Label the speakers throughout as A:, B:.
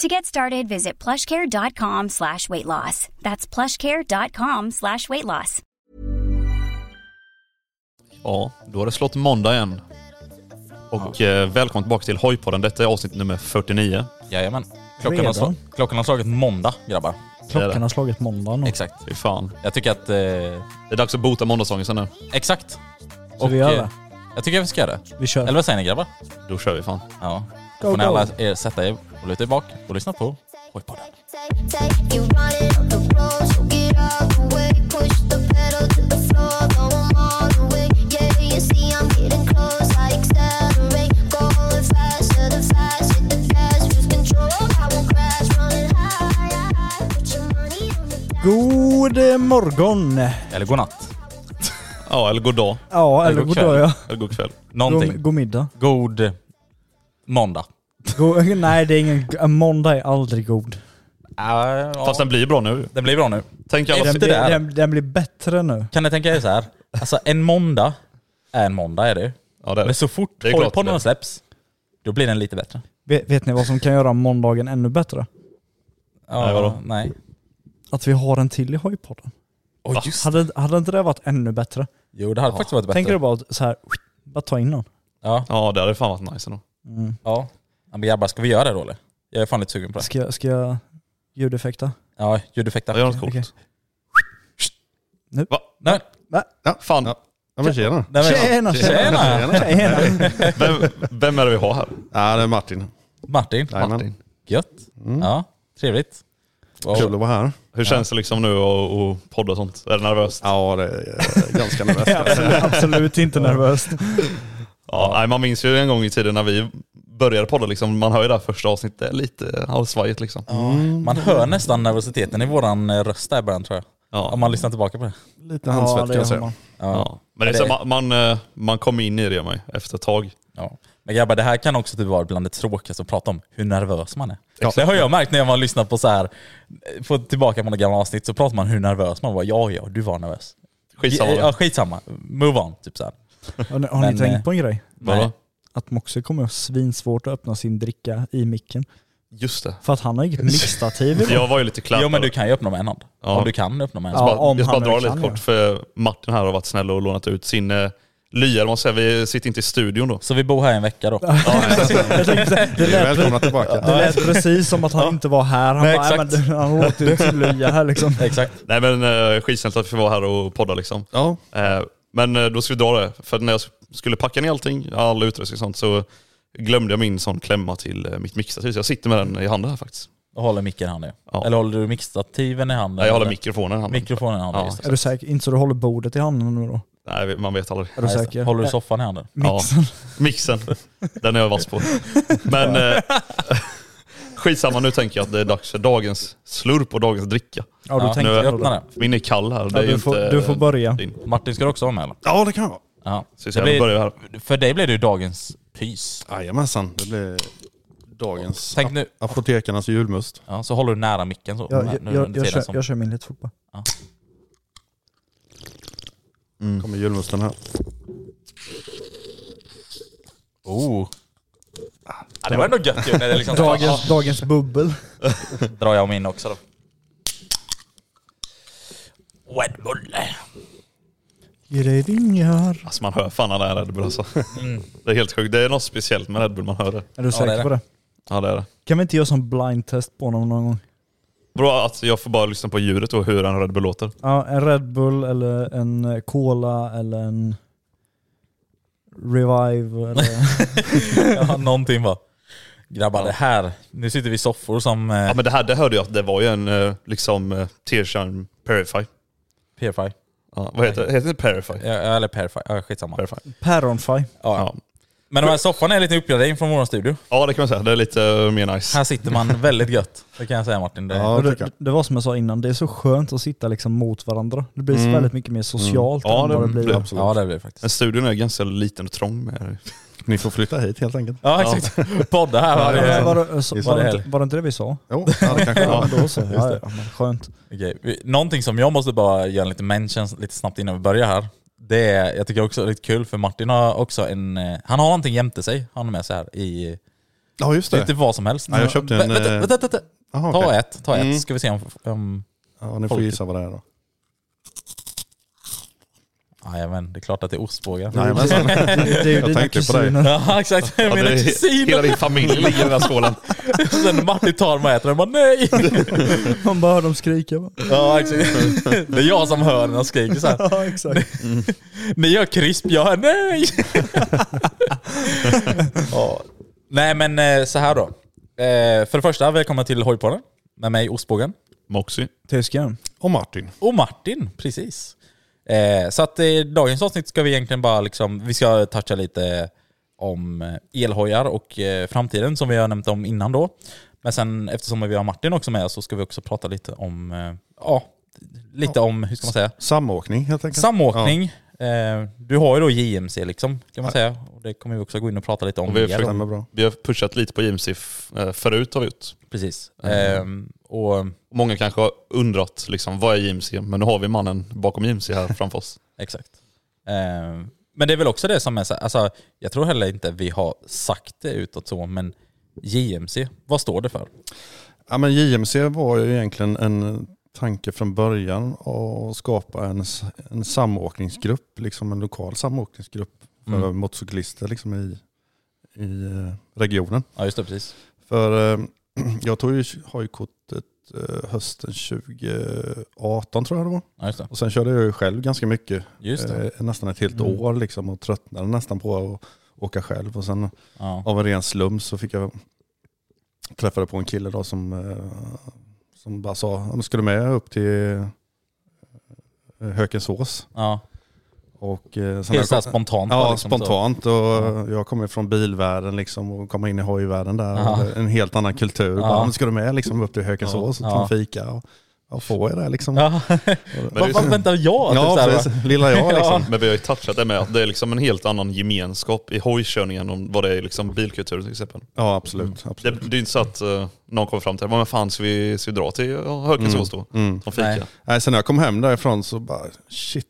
A: To get started, visit plushcare.com slash weight loss. That's plushcare.com slash weight loss.
B: Ja, då har det slått måndag igen. Och eh, välkommen tillbaka till Hojpodden. Detta är avsnitt nummer 49.
C: Jajamän. Klockan har,
D: Redan?
C: sl- klockan har slagit måndag grabbar.
D: Klockan har slagit måndagen och
C: Exakt.
B: Fy fan.
C: Jag tycker att... Eh,
B: Det är dags att bota måndagsångesten nu.
C: exakt.
D: Så vi gör
C: eh,
D: det.
C: Jag tycker att vi ska göra det.
D: vi kör.
C: Eller vad säger ni grabbar?
B: Då kör vi fan.
C: Ja.
D: Go,
C: Då får ni
D: go.
C: alla er sätta er och luta er bak och lyssna på Hojpodden.
D: God eh, morgon!
C: Eller godnatt.
B: Ja, eller god dag.
D: Ja, eller god dag ja.
B: Eller god kväll.
D: God,
C: Någonting.
D: god middag.
C: God eh, måndag.
D: God, nej, det är ingen... en Måndag är aldrig god.
C: ja.
B: Fast den blir bra nu.
C: Den blir bra nu.
B: Tänk alla...
C: Är
D: Den,
C: det
D: blir,
C: där?
D: den, den blir bättre nu.
C: Kan ni tänka er så här? Alltså en måndag är en måndag är det ju.
B: Ja, det är
C: Men
B: det.
C: så fort
B: Det är klart det.
C: Hojpodden släpps, då blir den lite bättre.
D: Vet, vet ni vad som kan göra måndagen ännu bättre?
C: Ja,
B: Nej, vadå?
C: Nej.
D: Att vi har en till i hojpodden.
C: Oh, just.
D: Hade, hade inte det varit ännu bättre?
C: Jo det hade faktiskt varit bättre.
D: Tänker du bara att så här, bara ta in någon?
C: Ja.
B: Ja, det hade fan varit nice ändå.
C: Ja. Ja, Men grabbar, ska vi göra det då eller? Jag är fan lite sugen på det.
D: Ska, jag- ska jag ljudeffekta?
C: Ja, ljudeffekter.
B: Det gör något coolt.
D: Okej. Nu.
B: Va?
C: Nej.
B: Fan,
E: Ja men tjena.
C: Nej, men-
D: Tjena, tjena.
C: Tjena!
D: Tjena!
B: vem, vem är det vi har här?
E: Ja det är Martin.
C: Martin.
E: Martin.
C: Gött. Ja, trevligt. Wow.
E: Kul att vara här.
B: Hur känns det liksom nu att att podda och sånt? Är det nervöst?
E: Ja det är ganska nervöst.
D: Absolut, absolut inte nervöst.
B: Ja, nej, man minns ju en gång i tiden när vi började podda, liksom, man hör ju det här första avsnittet, det är lite halvsvajigt liksom.
C: Man hör nästan nervositeten i våran eh, röst där i början tror jag.
B: Ja.
C: Om man lyssnar tillbaka på det.
E: Lite handsvett kan jag
D: gör
E: säga.
D: man.
B: Ja. Men det är så, man, man, eh, man kommer in i det mig efter ett tag.
C: Ja. Men grabbar, det här kan också typ vara bland det tråkigaste att prata om, hur nervös man är. Det har jag märkt när jag har lyssnat på så här, eh, på tillbaka på några gamla avsnitt, så pratar man hur nervös man var. Ja, ja, du var nervös.
B: Skitsamma.
C: Ja, skitsamma. Move on, typ så här.
D: Har ni, har
C: Men,
D: ni
C: eh,
D: tänkt på en grej?
B: Vadå?
D: Att Moxie kommer att ha svinsvårt att öppna sin dricka i micken.
B: Just det.
D: För att han har inget mixtativ idag.
B: Jag var ju lite klampare.
C: Jo men du kan ju öppna med en hand.
B: Ja.
C: Om du kan öppna med en
D: Ja,
C: hand.
B: bara,
D: om
B: jag ska
D: han
B: bara dra
D: nu
B: lite
D: kan
B: kort
D: göra.
B: för Martin här har varit snäll och lånat ut sin eh, lya, man säga. Vi sitter inte i studion då.
C: Så vi bor här en vecka då.
D: Jag tänkte säga, det, lät,
E: Välkomna tillbaka.
D: det lät precis som att han inte var här. Han
C: Nej,
D: bara, "Nej, men
C: exakt.
D: du, han låter ju som lya här liksom.
C: Exakt.
B: Nej men eh, skitsnällt att vi får vara här och podda liksom.
E: Ja.
B: Eh, men eh, då ska vi dra det. För när jag skulle packa ner allting, all utrustning och sånt, så glömde jag min sån klämma till eh, mitt mixtativ. Så jag sitter med den i handen här faktiskt.
C: Och håller micken i handen.
B: Ja.
C: Eller håller du mixstativen i handen?
B: Nej, jag håller
C: eller?
B: mikrofonen i handen.
C: mikrofonen i handen.
B: Ja.
C: Just det.
D: Är du säker? Inte så du håller bordet i handen nu då?
B: Nej, man vet aldrig.
D: Är du
C: Ja, just det.
D: säker?
C: Håller du soffan i handen?
B: Mixen. Ja, mixen. Den är jag vass på. Men eh, skitsamma, nu tänker jag att det är dags för dagens slurp och dagens dricka.
D: Ja, du
C: Ja,
D: tänkte
B: nu
D: jag
C: öppnar den.
B: Min är kall här. Det
D: Ja,
B: är ju
D: du, får,
B: inte
D: du får börja.
B: din.
C: Martin, ska du också vara med eller?
E: ja det kan jag vara.
C: Ja.
B: Så
C: Det
B: jag börjar
C: blir,
B: här.
C: för dig blir det ju dagens pys.
E: Jajamensan. Det blir dagens
C: Tänk nu,
E: apotekarnas julmust.
C: ja, så håller du nära micken så.
D: Jag,
C: nu
D: jag,
C: under
D: jag, jag,
C: tiden
D: kör,
C: som-
D: jag kör min lite fort bara.
E: Kommer julmusten här.
C: Oh. Ja, det var ändå gött ju när det liksom...
D: Dagens, dagens bubbel.
C: drar jag min också då. Red Bull.
D: Gira vingar.
B: Alltså man hör fan alla här Red Bull alltså.
C: Mm.
B: Det är helt sjukt. Det är något speciellt med Red Bull man hör det.
D: Är du
C: det
D: säker
C: är det.
D: på det?
B: Ja det är det.
D: Kan vi inte göra som blind test på honom någon gång?
B: Bra att jag får bara lyssna på ljudet och hur en Red Bull låter.
D: Ja, en Red Bull eller en eh, Cola eller en Revive eller...
C: Ja, någonting bara. Grabbar det här, nu sitter vi i soffor som eh,
B: Ja men det här det hörde jag att det var ju en eh, liksom eh, Tearshine Purify.
C: Purify.
B: Ja, vad heter det? Heter det Purify?
C: Ja, eller Purify, ja, skitsamma.
B: Purify.
D: Päronfaj.
B: Ja.
C: Men de här sofforna är lite uppgradering från våran studio.
B: ja det kan man säga. Det är lite eh, mer nice.
C: Här sitter man väldigt gött. Det kan jag säga Martin. Det,
E: Ja,
D: Och
E: det
D: det,
E: tycker
D: det,
E: jag.
D: var som jag sa innan, det är så skönt att sitta liksom mot varandra. Det blir så väldigt mycket mer socialt
B: Ja,
D: än
B: det
D: vad det blir.
B: blir
D: absolut.
C: ja det blir det faktiskt.
B: Men studion är ganska liten och trång med.
E: Ni får flytta hit helt enkelt.
C: Ja exakt. Podda här
D: Men Var
C: varje...
D: det, så-
C: Just
D: var,
C: det.
D: det inte, var det inte det vi sa?
E: Jo, ja, det kanske
D: Ja,
E: ja.
D: då så. Ja, ja, men skönt.
C: Okej, vi- Någonting som jag måste bara göra en liten mention lite snabbt innan vi börjar här. Det är, jag tycker också det är lite kul för Martin har också en, eh, han har någonting jämte sig, han har med sig här i,
E: ja, just
C: det är
E: det.
C: inte vad som helst.
E: Ja, jag köpte
C: Vä-
E: en,
C: Vänta,
E: eh,
C: vänta, vänta.
E: Aha,
C: Ta
E: okej.
C: ett, ta ett.
E: Mm.
C: Ska vi se om... om
E: Ja, ni får
C: Folk.
E: gissa vad det är då.
C: jajamän, det är klart att det är ostbågar.
E: Jajamensan.
D: Det är ju
E: Jag
D: dina
E: tänker på dig.
D: kusiner.
C: Ja exakt,
B: Ja,
C: mina
B: det är- Hela
C: kusiner.
B: din familj ligger i den här skålen.
C: Sen Martin tar dem och äter dem, bara nej.
D: Man bara hör dem skrika. va?
C: Ja exakt. Det är jag som hör när de skriker så här.
D: Ja, exakt.
C: Ni gör krisp, jag hör nej. ja. Nej men eh, så här då. Eh, För det första, välkomna till Hojpodden. Med mig Ostbågen.
B: Moxie.
D: Tysken.
E: Och Martin.
C: Och Martin, precis. Eh, så att i dagens avsnitt ska vi egentligen bara liksom, vi ska toucha lite om eh, elhojar och eh, framtiden som vi har nämnt om innan då. Men sen eftersom vi har Martin också med så ska vi också prata lite om, eh, ja, lite om, hur ska man säga,
E: Samåkning helt enkelt.
C: samåkning. Eh, du har ju då JMC liksom, kan man säga. Och det kommer vi också gå in och prata lite om.
B: Och vi har
C: mer.
E: Ja, stämmer bra.
B: Vi har pushat lite på JMC f- eh, förut har vi gjort.
C: Precis. Eh, och
B: Många kanske har undrat liksom, vad är JMC? Men nu har vi mannen bakom JMC här framför oss.
C: Exakt. Eh, men det är väl också det som är så alltså, jag tror heller inte vi har sagt det utåt så, men JMC, vad står det för?
E: Ja, men JMC var ju egentligen en tanke från början att skapa en, s- en samåkningsgrupp, liksom en lokal samåkningsgrupp för
C: Mm.
E: motorcyklister liksom i, i eh, regionen.
C: Ja just det, precis.
E: För eh, jag tog ju, har ju kortet eh, hösten 2018 tror jag det var.
C: Ja, just det.
E: Och sen körde jag ju själv ganska mycket,
C: Just det.
E: eh, nästan ett helt
C: Mm.
E: år liksom och tröttnade nästan på att åka själv. Och sen
C: Ja.
E: av en ren slum så fick jag träffade på en kille då som, eh, som bara sa, "Ja, men ska du med upp till eh, Hökensås?
C: Ja.
E: Och, eh, sen
C: Helt
E: när
C: såhär
E: jag kom-
C: spontant. bara
E: Ja,
C: liksom,
E: spontant. Och Jag kommer från bilvärlden liksom och kommer in i hojvärlden där.
C: Ja.
E: Och En helt annan kultur.
C: Ja.
E: Bara, "Ja, men ska du med liksom, upp till Hökensås och ta
C: Ja.
E: en fika? Och, ja, får jag det liksom?
C: Så. Ja. Vad fan väntar jag?
E: Ja,
C: typ, såhär, va?
E: precis. Lilla jag liksom.
B: Men vi har ju touchat det med att det är liksom en helt annan gemenskap i hojkörningen än vad det är i liksom bilkulturen till exempel.
E: Ja, absolut.
C: Mm.
B: Det,
E: absolut.
B: det är inte så att eh, någon kommer fram till "Vad, men fan ska vi, ska vi dra till Hökensås då?
E: Mm.
B: Som fika.
C: Nej.
E: Nej, sen när jag kom hem därifrån så bara, shit,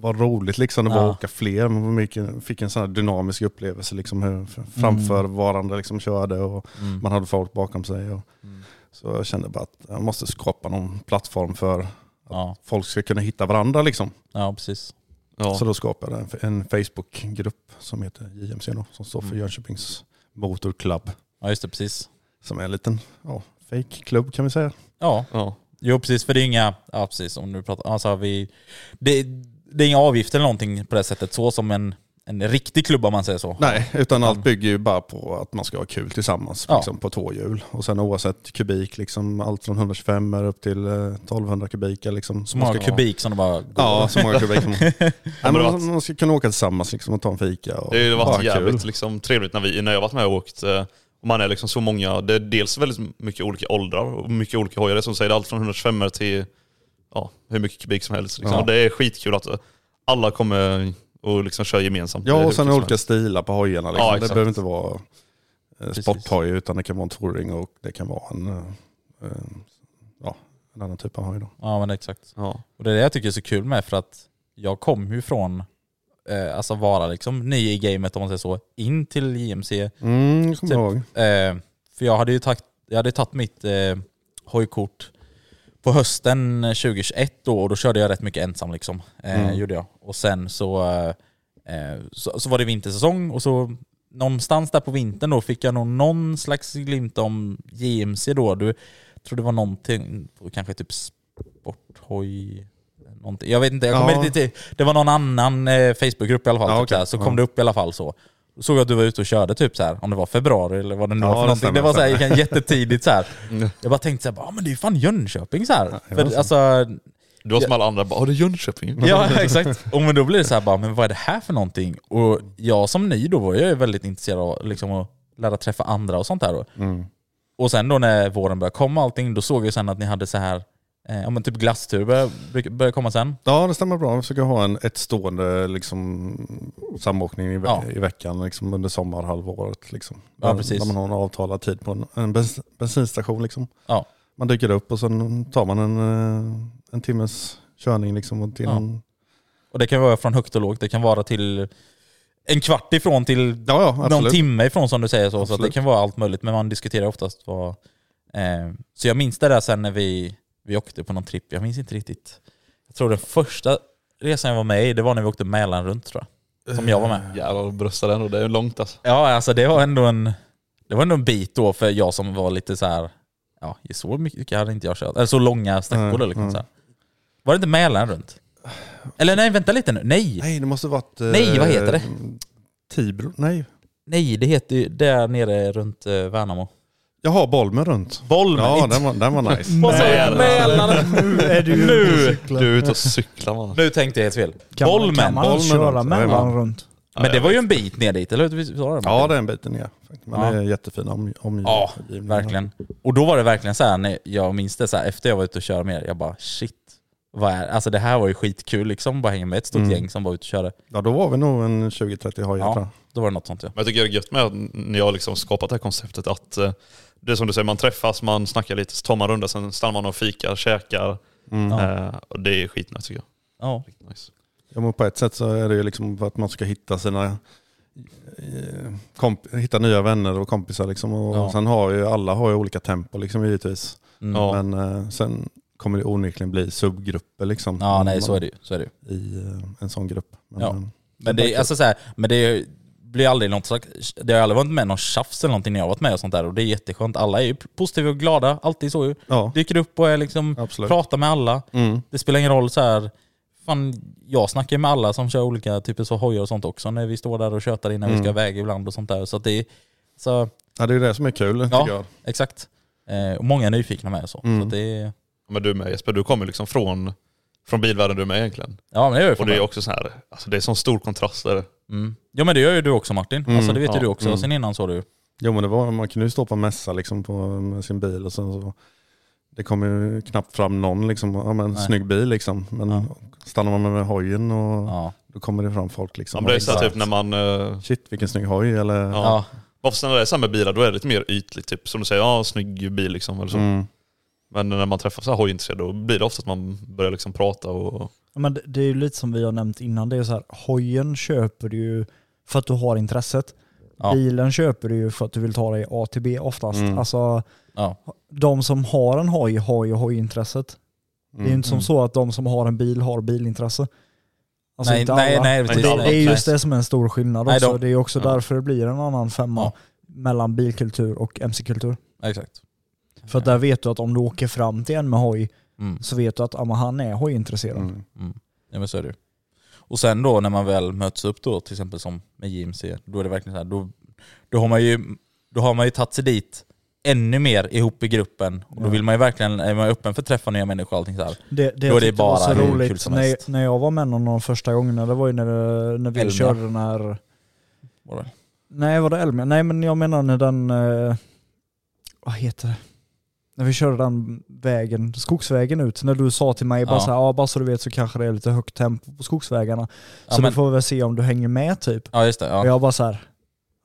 E: vad roligt liksom. Det var
C: Ja.
E: att åka fler. Man var mycket- fick en sån här dynamisk upplevelse, liksom hur f- framförvarande liksom körde och
C: Mm.
E: man hade folk bakom sig. Och,
C: Mm.
E: Så jag kände bara att jag måste skapa någon plattform för
C: Ja.
E: folk ska kunna hitta varandra liksom.
C: ja, precis.
B: Ja.
E: Så då skapade jag en, en Facebookgrupp som heter JMC då, som står för
C: Mm.
E: Jönköpings Motor Club.
C: Ja, just det, precis.
E: Som är en liten ja, fake-klubb kan vi säga.
C: Ja,
B: Ja.
C: jo precis, för det är inga, ja precis, om du pratar, alltså vi, det, det är inga avgifter eller någonting på det sättet, så som en, en riktig klubb om man säger så.
E: Nej, utan allt bygger ju bara på att man ska ha kul tillsammans
C: Ja.
E: liksom, på två hjul. Och sen oavsett kubik, liksom, allt från 125 upp till eh, 1200 kubikar. Liksom,
C: Så många
E: man ska-
C: kubik som det bara går.
E: Ja, så många kubik. Som, Nej, men
B: det har varit-
E: man, man ska kunna åka tillsammans liksom, och ta en fika. Och,
B: Det har ju
E: bara
B: varit
E: kul.
B: jävligt liksom, trevligt när, vi, när jag varit med och åkt. eh, Och man är liksom så många, det är dels väldigt mycket olika åldrar och mycket olika hojar. Det är Som du säger, det är allt från 125 till ja, hur mycket kubik som helst. Liksom.
E: Ja.
B: Och det är skitkul att eh, alla kommer och liksom kör gemensamt. Det är
E: Ja,
B: hur
E: och sen
B: kul som
E: olika
B: helst.
E: stilar på hojarna. Liksom.
B: Ja,
E: det
B: exakt.
E: behöver inte vara eh, sporthoj, utan det kan vara en touring och det kan vara en, eh, eh, ja, en annan typ av hoj. Då.
C: Ja men exakt.
B: Ja.
C: Och det är det jag tycker är så kul med för att jag kom ju från eh, alltså vara liksom ny i gamet om man säger så, in till JMC.
E: Mm, jag kommer
C: Typ.
E: ihåg.
C: Eh, för jag hade ju tagit, jag hade tagit mitt eh, hojkort på hösten 2021 då, och då körde jag rätt mycket ensam liksom. Eh,
E: Mm.
C: Gjorde jag. Och sen så, eh, eh, så, så var det vintersäsong och så någonstans där på vintern då fick jag nog någon slags glimt om JMC då. Du jag tror det var någonting, kanske typ sporthoj, någonting. Jag vet inte, jag kommer
E: Ja.
C: inte till. Det var någon annan eh, Facebookgrupp i alla fall.
E: Ja,
C: typ,
E: okej.
C: så, här, så kom
E: Ja.
C: det upp i alla fall så. Såg jag att du var ute och körde typ så här, om det var februari eller vad det nu
E: Ja,
C: var för
E: det
C: någonting.
E: stämmer,
C: det var så här,
E: stämmer.
C: gick han jättetidigt så här. Jag bara tänkte så här, bara, "Ah, men det är ju fan Jönköping så här.
E: det var
C: för,
E: så.
C: alltså,
B: Du var som alla andra, bara, har du Jönköping?
C: ja exakt. Och men då blir det så här, bara, men vad är det här för någonting? Och jag som ny då var jag ju väldigt intresserad av liksom, att lära träffa andra och sånt där. Då.
E: Mm.
C: Och sen då när våren började komma och allting, då såg jag sen att ni hade så här, eh, ja, men typ glassturer började, började komma sen.
E: Ja, det stämmer bra. Vi försöker ha en, ett stående liksom, samåkning i, ve-
C: Ja.
E: i veckan liksom, under sommarhalvåret. Liksom.
C: Ja,
E: Där-
C: precis.
E: Där man har en avtalad tid på en, en bens, bensinstation. Liksom.
C: Ja.
E: Man dyker upp och sen tar man en, eh, en timmes körning. Liksom, och till
C: Ja.
E: en,
C: Och det kan vara från högt och lågt, det kan vara till en kvart ifrån till
E: ja, ja,
C: någon
E: absolut.
C: timme ifrån som du säger så. Så att det
E: Absolut.
C: kan vara allt möjligt, men man diskuterar oftast vad... Eh, så jag minns det där sen när vi, vi åkte på någon tripp, jag minns inte riktigt. Jag tror den första resan jag var med i, det var när vi åkte Mälaren runt tror jag. Som jag var med.
B: Jävlar vad bröstar ändå, det är långt alltså.
C: Ja, alltså det var ändå en, det var ändå en bit då för jag som var lite så här. ja, så mycket hade inte jag kört. Eller så långa sträckor
E: Nej,
C: liksom.
E: nej.
C: Så här. Var det inte Mälaren runt? Eller nej, vänta lite nu. Nej!
E: Nej, det måste varit... eh,
C: Nej, vad heter det?
E: Tibro? Nej.
C: Nej, det heter ju där nere runt eh, Värnamo.
E: Jaha, Bolmen runt.
C: Bollmen!
E: Ja,
C: inte-
E: den var, den var nice.
C: Vad sa jag?
B: Mälaren.
C: Mälaren!
D: Nu är du ute och
C: Nu!
D: cyklar.
B: Du är ute och cyklar man.
C: Nu tänkte jag helt fel.
D: Kan man, kan
C: Bolmen!
D: man
E: Bolmen
D: köra
E: runt.
D: mellan
E: Jajamän.
D: runt?
C: Men det var ju en bit ner dit, eller hur? Visst var det?
E: Ja, det är en bit ner. faktiskt. Men
C: Ja.
E: det är jättefina om, omgivningar.
C: Ja, verkligen. Och då var det verkligen så här, när jag minns det så här, efter jag var ute och körde mer, jag bara shit. Vad är, alltså det här var ju skitkul liksom, bara hänga med ett stort
E: Mm.
C: gäng som var ute och körde.
E: Ja, då var vi nog en 20-30 hojar
C: Ja.
E: tror jag.
C: Då var det något sånt ja.
B: Men jag tycker det är gött med att ni har liksom skapat det här konceptet att eh, det är som du säger, man träffas, man snackar lite, så tar man runda, sen stannar man och fikar, käkar.
E: Mm.
B: Eh, och det är skitnice tycker jag.
C: ja.
B: Riktigt nice.
E: Ja, men på ett sätt så är det ju liksom för att man ska hitta sina eh, komp- hitta nya vänner och kompisar. Liksom. Och
C: Ja.
E: Sen har ju alla har ju olika tempo liksom, givetvis.
C: Mm.
B: Ja.
C: Ja.
E: Men eh, sen kommer det onekligen bli subgrupper liksom,
C: nej så är det ju. Så är det ju.
E: i eh, en sån grupp. Men,
C: Ja.
E: eh,
C: Men det, är- alltså, så här, men det blir aldrig något slags, det har aldrig varit med någon tjafs eller någonting när jag har varit med och sånt där och det är jätteskönt. Alla är ju positiva och glada, alltid så ju.
E: ja,
C: Dyker upp och är liksom,
E: absolut.
C: pratar med alla.
E: Mm.
C: Det spelar ingen roll så här. Fan, jag snackar ju med alla som kör olika typer så hojar och sånt också när vi står där och tjötar innan vi
E: Mm.
C: ska iväg ibland och sånt där. Så att det är, så,
E: Ja, det är ju det som är kul tycker
C: Ja.
E: jag.
C: exakt. Eh, och många är nyfikna med och så.
E: Mm.
C: så att det är,
B: Men du med Jesper, du kommer liksom från, från bilvärlden du är med egentligen.
C: ja men det gör ju
B: Och
C: fan
B: det är
C: det.
B: också så här, alltså det är sån stor kontrast där.
C: Mm. Ja men det gör ju du också Martin.
E: Mm,
C: Alltså det vet ju
B: ja,
C: du också.
E: mm.
C: Sen innan så du.
E: Jo men det var, man kunde ju stå på en mässa liksom på, med sin bil och sen så det kom ju knappt fram någon liksom, ja men
C: Nej.
E: snygg bil liksom. Men
C: Ja.
E: stannar man med hojen och
C: Ja.
E: då kommer det fram folk liksom.
B: Ja, men det är så här,
C: Exakt.
B: typ när man... eh,
E: Shit vilken snygg hoj eller...
B: Ja.
C: Ja.
B: Varför när det är samma bilar, då är det lite mer ytligt. Typ som du säger, ja snygg bil liksom. Eller så.
E: Mm.
B: Men när man träffar så här hojintresserade, då blir det ofta att man börjar liksom prata och...
D: Ja, men det- det är ju lite som vi har nämnt innan, det är så här, hojen köper du ju för att du har intresset.
C: Ja.
D: Bilen köper du ju för att du vill ta dig A till B oftast.
E: Mm.
D: Alltså,
C: Ja.
D: de som har en hoj har ju hojintresset. Det är ju
E: Mm.
D: inte som
C: Mm.
D: så att de som har en bil har bilintresse. Alltså
C: nej,
D: inte
C: nej,
D: alla.
C: nej,
B: Men
C: precis.
D: Det,
B: alla.
D: det är just det som är en stor skillnad
C: Nej,
D: också.
C: de-
D: det är ju också
C: Ja.
D: därför det blir en annan femma
C: Ja.
D: mellan bilkultur och mc-kultur.
C: Exakt.
D: För att där vet du att om du åker fram till en med hoj
C: Mm.
D: så vet du att ja, men han är hojintresserad.
E: Mm.
C: Mm. Ja men så är det ju. Och sen då när man väl möts upp då, till exempel som med JMC, då är det verkligen så här, då, då har man ju, då har man ju tagit sig dit ännu mer ihop i gruppen. Och då
D: Ja.
C: vill man ju verkligen, är man öppen för att träffa nya människor och allting så här.
D: Det, det
C: Då är
D: jag
C: det
D: tyckte var så
C: bara hur kul
D: roligt
C: som helst.
D: när, när jag var med någon av de första gångerna, det var ju när, det- när vi
C: Elmia.
D: körde den här...
C: Var det?
D: Nej var det Elmia? Nej men jag menar när den... Eh, vad heter det? När vi körde den vägen, skogsvägen ut, när du sa till mig bara
C: Ja.
D: så här, ja bara så du vet så kanske det är lite högt tempo på skogsvägarna.
C: Ja,
D: Så
C: men,
D: då får vi väl se om du hänger med typ.
C: ja just det. Ja.
D: Och jag bara så här.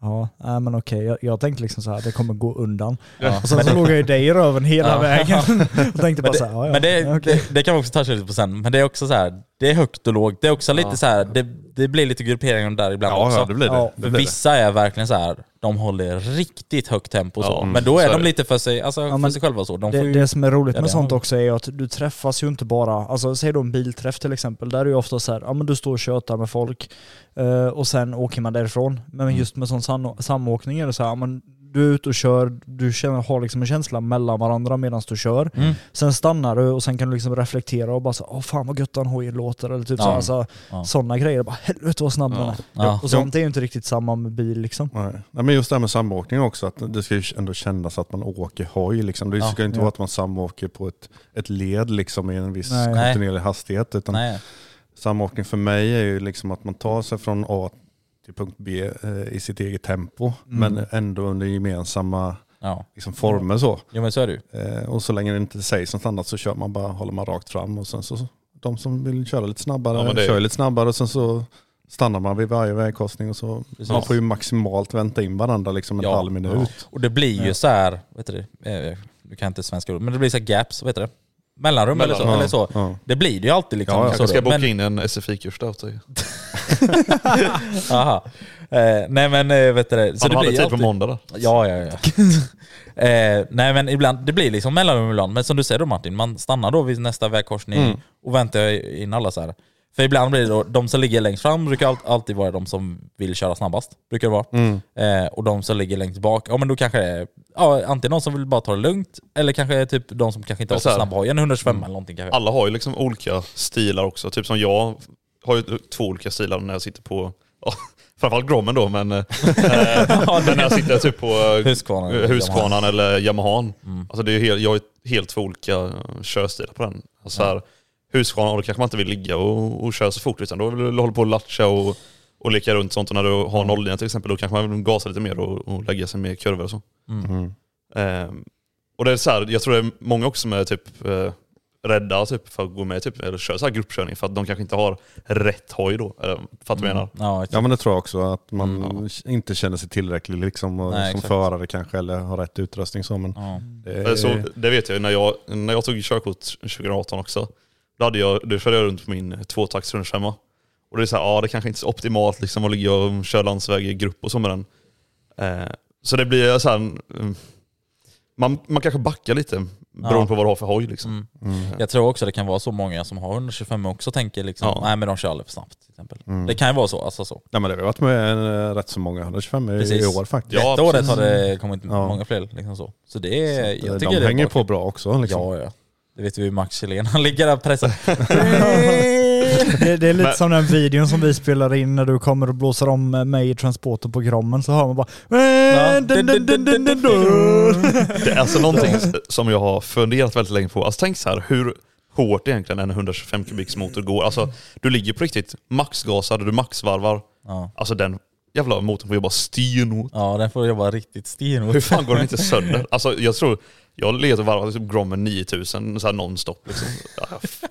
D: Ja, nej, men okej. Jag, jag tänkte liksom så här, det kommer gå undan.
C: Ja.
D: Och sen så låg jag ju dig i röven hela
C: Ja.
D: vägen. Och tänkte bara
C: Men, det,
D: så här, ja, ja,
C: men det,
D: ja, okej.
C: det, det kan vi också toucha lite på sen, men det är också så här, det är högt och lågt. Det är också lite så här, det, det blir lite grupperingar där ibland
E: Ja,
C: också.
E: ja, det blir det.
D: Ja,
E: det,
C: För
E: blir det.
C: vissa är verkligen så här, de håller riktigt högt tempo och så.
E: mm.
B: Ja,
C: men då
B: så
C: är
B: är
C: de
B: det.
C: lite för sig, alltså, för
D: men
C: sig själva och så. De får
D: Det,
C: ju,
D: det som är roligt
C: Ja,
D: med
C: det
D: sånt
C: har-
D: också är att du träffas ju inte bara, alltså säg då en bilträff till exempel, där är ju ofta så här, ja men du står och tjötar med folk eh, och sen åker man därifrån. Men
C: Mm.
D: just med sån sam samåkning är det så här, ja, men du är ute och kör, du känner, har liksom en känsla mellan varandra medan du kör.
C: Mm.
D: Sen stannar du och sen kan du liksom reflektera och bara så, här, åh fan vad gött den hojen låter eller typ
C: Ja.
D: så här, alltså,
C: Ja.
D: sådana grejer. Bara helvete vad snabb den är.
C: Ja.
D: Och sånt är ju inte riktigt samma med bil liksom.
E: Nej. Nej, men just det här med samåkning också, att det ska ju ändå kännas att man åker hoj. Liksom. Det
C: Ja.
E: ska ju inte
D: Ja.
E: vara att man samåker på ett, ett led liksom, i en viss
D: Nej.
E: kontinuerlig hastighet. Utan
C: Nej.
E: Samåkning för mig är ju liksom att man tar sig från A till punkt B eh, i sitt eget tempo, men ändå under gemensamma
C: Ja.
E: liksom, former. Så.
C: Jo men så är det ju.
E: Eh, och så länge det inte sägs något annat så kör man bara, håller man rakt fram och sen så, de som vill köra lite snabbare
B: Ja, men det-
E: kör lite snabbare och sen så stannar man vid varje vägkorsning och så
C: Precis.
E: man får ju maximalt vänta in varandra liksom en
C: Ja.
E: halv minut.
C: Och det blir ju så här, vad heter det? Eh, Nu kan jag inte svenska ord, men det blir så här gaps, vad heter det? Mellanrum, eller så.
B: Mellanrum.
C: Eller så.
E: Ja.
C: Det blir det ju alltid liksom.
E: Ja, ja.
C: så
B: Kanske Alltså, ska
C: då.
B: jag boka
C: Men-
B: in en SFI-kurs där åt dig.
C: Aha. Eh, nej men eh, vet du det.
B: Så de hade
C: ju
B: tid på måndag där.
C: Ja, ja, ja. eh, nej men ibland, det blir liksom mellanrum ibland. Men som du säger då Martin, man stannar då vid nästa vägkorsning
E: Mm.
C: och väntar in alla så här. För ibland blir det då, de som ligger längst fram brukar allt- alltid vara de som vill köra snabbast. Brukar det vara.
E: Mm.
C: Eh, och de som ligger längst bak, ja men då kanske det är ja, antingen de som vill bara ta det lugnt, eller kanske är typ de som kanske inte har
B: Men så
C: så
B: här-
C: snabb hoj, en 125
E: Mm.
C: eller någonting kanske.
B: Alla har ju liksom olika stilar också. Typ som jag har ju två olika stilar när jag sitter på, ja, framförallt Grommen då, men, eh, men när jag sitter typ på eh,
C: Husqvarna eller Mm.
B: Husqvarnan eller Yamahan. Alltså det är ju helt, jag har ju helt två olika eh, körstilar på den. Alltså här, Husqvarnan, då kanske man inte vill ligga och, och köra så fort utan då vill du hålla på och latcha och, och leka runt sånt. Och när du har 09 till exempel, då kanske man vill gasa lite mer och, och lägga sig mer kurvor och så.
E: Mm.
B: Ehm, och det är så här, jag tror det är många också som är typ eh, rädda typ, för att gå med typ, eller köra så här gruppkörning för att de kanske inte har rätt hoj då. Eller,
C: Mm.
B: fattar du vad jag menar?
C: Ja,
E: Ja men det tror jag också, att man
B: Mm,
E: inte känner sig tillräcklig liksom, och,
C: Nej,
E: som
C: exakt.
E: förare kanske eller har rätt utrustning. Så, men
C: ja.
E: det,
B: Eh, Så, det vet jag ju, när jag, när jag tog körkort 2018 också. Då, hade jag, då körde jag runt på min tvåtakts 125 Och det är så här, ja det kanske inte är så optimalt liksom, att ligga och köra landsväg i grupp och så med den. Eh, så det blir så här, mm, man, man kanske backar lite beroende
C: Ja.
B: på vad du har för hoj. Liksom.
C: Mm. Jag tror också det kan vara så många som har 125 också tänker liksom,
B: Ja.
C: nej men de kör alldeles för snabbt. Till exempel.
E: Mm.
C: Det kan ju vara så. Alltså så.
E: Nej, men det har varit med eh, rätt så många, 125 i, i
C: Precis.
E: år faktiskt.
B: Ja,
C: Detta året
B: precis.
C: har det kommit
E: Mm. Ja.
C: många fler. Liksom så. så det är,
E: Så att, eh,
C: jag tycker
E: de
C: det är
E: hänger
C: bra.
E: på bra också. Liksom.
C: Ja, ja. Det vet vi ju Max Källén, han ligger där och pressar.
D: Det, det är lite
B: Men-
D: som den videon som vi spelar in när du kommer och blåser om mig i transporter på Grommen så hör man bara... "Eh, Dun, dun, dun, dun, dun, dun.
B: Det är alltså någonting som jag har funderat väldigt länge på. Alltså tänk så här, hur hårt egentligen en 125 kubiks motor går. Alltså du ligger på riktigt maxgasad och du maxvarvar.
C: Ja.
B: Alltså den jävla motorn får jobba stenhårt.
C: ja, den får jobba riktigt stenhårt.
B: Hur fan går den inte sönder? Alltså jag tror, jag leder och varvar typ Grommen 9000 så här nonstop liksom. Ja, jag f-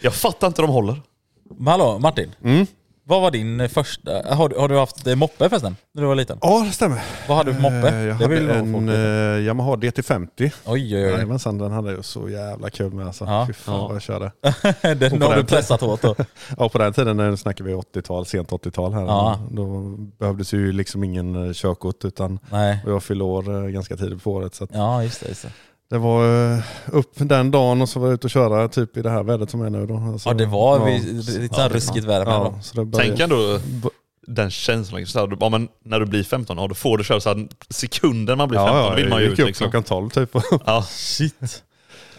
B: Jag fattar inte hur de håller.
C: Men hallå Martin,
E: Mm.
C: vad var din första, har, du- har du haft eh, moppe förresten? När du var liten?
E: Ja, det stämmer.
C: Vad hade du för moppe?
E: Eh, Jag
C: det
E: hade
C: nog folk
E: en
C: veta.
E: eh, Yamaha DT50.
C: Oj oj oj.
E: Jajamensan, den hade jag så jävla kul med alltså.
C: Ja.
E: Fy fan vad jag körde.
C: den har du pressat hårt då.
E: Ja, på den tiden när snackar vi 80-tal, sent 80-tal här.
C: Ja.
E: Då behövdes ju liksom ingen eh, körkort utan
C: Nej.
E: och jag fyllde år eh, ganska tidigt på året. Så att
C: Ja just det. Just det.
E: det var eh, upp den dagen och så var jag ute och köra typ i det här vädret som är nu då. Alltså,
C: Ja det var
E: ja.
C: vi- lite såhär ruskigt värme
E: Ja,
C: då.
E: så det började-
B: Tänk ändå den känslan. Liksom, så här, du- ja, men när du blir 15 år, då får du köra så här, sekunden man blir 15
E: Ja, ja,
B: vill man ju
E: jag
B: ut
E: gick upp
B: liksom.
E: klockan 12 typ och
B: Ja,
C: Shit.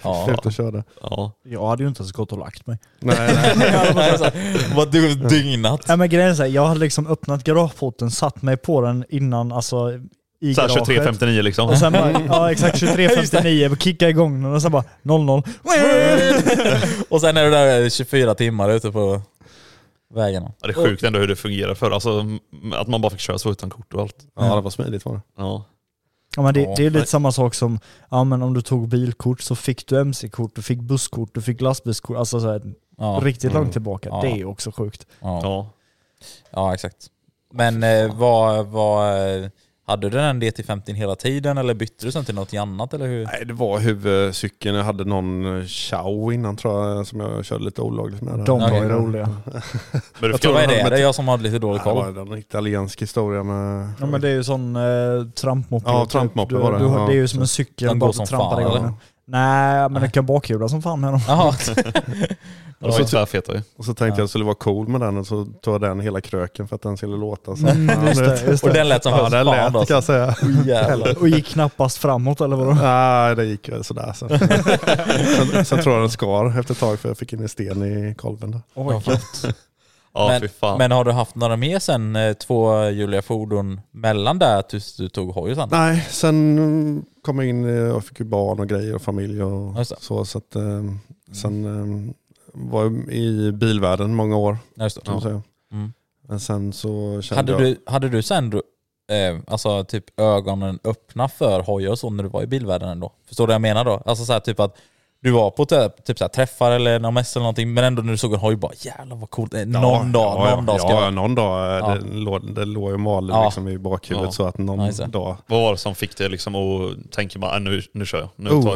C: Ja.
E: ut och körde.
B: ja.
D: Jag hade ju inte ens gått och lagt mig.
E: Nej, nej.
C: Alltså, Vad du dygnat.
D: Nej men grejen är så här, jag hade liksom öppnat garageporten, satt mig på den innan, alltså i
B: Så här
D: garaget.
B: 23.59 liksom.
D: Och sen bara, ja exakt 23.59, kicka igång den och sen bara 00.
C: Och sen är du där 24 timmar ute på vägarna.
B: Ja, det är sjukt ändå hur det fungerar för Alltså m- att man bara fick köra så utan kort och allt.
E: Ja, det var smidigt var det.
B: Ja.
D: Ja, men det, det är
B: nej.
D: lite samma sak som, ja men om du tog bilkort så fick du mc-kort, du fick busskort, du fick lastbilskort, alltså så här,
C: Ja,
D: Mm. riktigt långt tillbaka.
C: Ja.
D: Det är ju också sjukt.
C: ja,
B: Ja.
C: ja exakt. Men eh, vad, vad, eh, hade du den DT50 hela tiden eller bytte du sen till något annat? Eller hur?
E: Nej, det var huvudcykeln. Jag hade någon eh, Chow innan tror jag som jag körde lite olagligt med.
D: De var ju
C: Okej.
D: roliga.
B: Men du
E: Jag
B: fick,
E: tror-
C: Vad är det?
E: men-
C: det är jag som har lite dålig
E: Ja, det
C: koll.
E: var en italiensk historia med...
D: Ja men det är ju sån eh, trampmoppe.
E: Ja, trampmoppe
D: du,
E: var det.
D: Du, har-
E: Ja.
D: det är ju som en cykel,
C: Den
D: bara
C: går
D: att du
C: som
D: trampar
C: fan,
D: igång
C: eller?
D: den. Nej men den kan bakhjula som fan med dem.
C: Jaha.
B: de var ju tvärfeta ju.
E: Och så tänkte jag att jag skulle vara cool med den och så tog jag den hela kröken för att den skulle låta så.
D: Mm, just det, just
C: Och
D: det.
C: den lät som
E: Ja,
C: högst
E: den
C: fan
E: lät
C: då.
E: kan jag säga.
C: Jävlar.
D: Och gick knappast framåt eller vadå?
E: Nej, det gick väl sådär. Sen, sen, sen tror jag den skar efter ett tag för jag fick in en sten i kolven. Där.
C: Oj,
B: Ja
C: men,
B: fy fan.
C: men har du haft några mer sen eh, två Julia fordon mellan där tills du tog hojen?
E: Nej, sen mm, kom jag in eh, och fick ju barn och grejer och familj och
C: Just det.
E: så. så att, eh, sen eh, var jag i bilvärlden många år.
C: Nej, just det.
E: Kan man säga.
C: Mm.
E: Men sen så kände
C: Hade,
E: jag...
C: du, hade du sen eh, alltså, typ ögonen öppna för hojar och så när du var i bilvärlden ändå? Förstår du vad jag menar då? Alltså så här, typ att du var på typ, typ så här, träffar eller någon mässa eller någonting men ändå när du såg en hoj bara jävlar vad coolt. Eh, någon dag,
E: ja,
C: någon
E: ja,
C: dag ska
E: ja,
C: jag...
E: någon dag. eh,
C: Ja.
E: Det, låg, det låg ju mal
C: Ja.
E: liksom i bakhuvudet
B: Ja.
E: så att någon
C: Ja, just det.
E: dag...
B: Vad var det som fick dig liksom att tänka bara, "Ah, nu, nu kör jag. Nu
E: Oh.
B: tar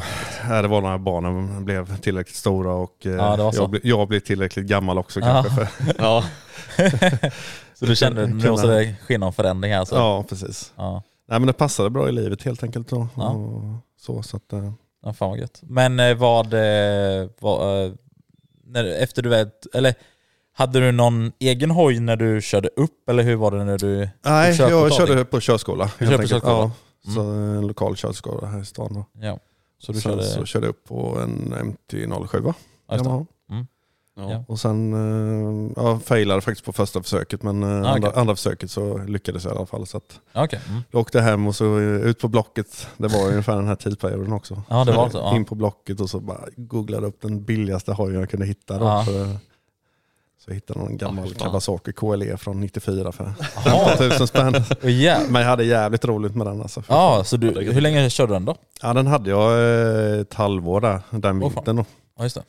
B: jag.
E: Ja, det var när barnen blev tillräckligt stora och eh,
C: Ja, det var så.
E: jag, blev, jag blev tillräckligt gammal också
C: Ja.
E: kanske. För,
B: Ja,
C: Så du kände att nu
E: Kunna-
C: måste det ske någon förändring här. Så. Ja.
E: ja, precis.
C: Ja.
E: Nej, men det passade bra i livet helt enkelt. Då.
C: Ja.
E: Och så, så att, eh,
C: fan vad gött. Men eh, vad... Eh, vad eh, när, efter du vet, eller hade du någon egen hoj när du körde upp eller hur var det när du...
E: nej,
C: körkort
E: jag
C: av
E: körde
C: dig?
E: på körskola. helt
C: körde på
E: enkelt.
C: körskola?
E: Ja, så en lokal körskola här i stan. Då.
C: Ja. Så du
E: Sen
C: körde...
E: så körde jag upp på en MT-07.
C: Ja, just det. Mm.
E: Yamaha.
B: ja.
C: Ja.
E: Och sen eh, jag failade faktiskt på första försöket men eh,
C: Ah, okej.
E: andra, andra försöket så lyckades jag i alla fall. Så att
C: Ja, Okej. Mm.
E: jag åkte hem och så eh, ut på Blocket, det var ju ungefär den här tidperioden också.
C: Ja, det var så, ja.
E: In på Blocket och så bara googlade upp den billigaste hojen jag kunde hitta. Då,
C: Ja.
E: för, så jag hittade någon gammal
B: fy fan.
E: Kawasaki KLE E från 94 för
C: Jaha.
E: 1000 spänn.
C: Oh, yeah.
E: Men jag hade jävligt roligt med den alltså.
C: Ja, så du, hur länge körde du den då?
E: Ja, den hade jag eh, ett halvår där, den
C: Åh, fan.
E: vintern. då.
C: Ja, just det.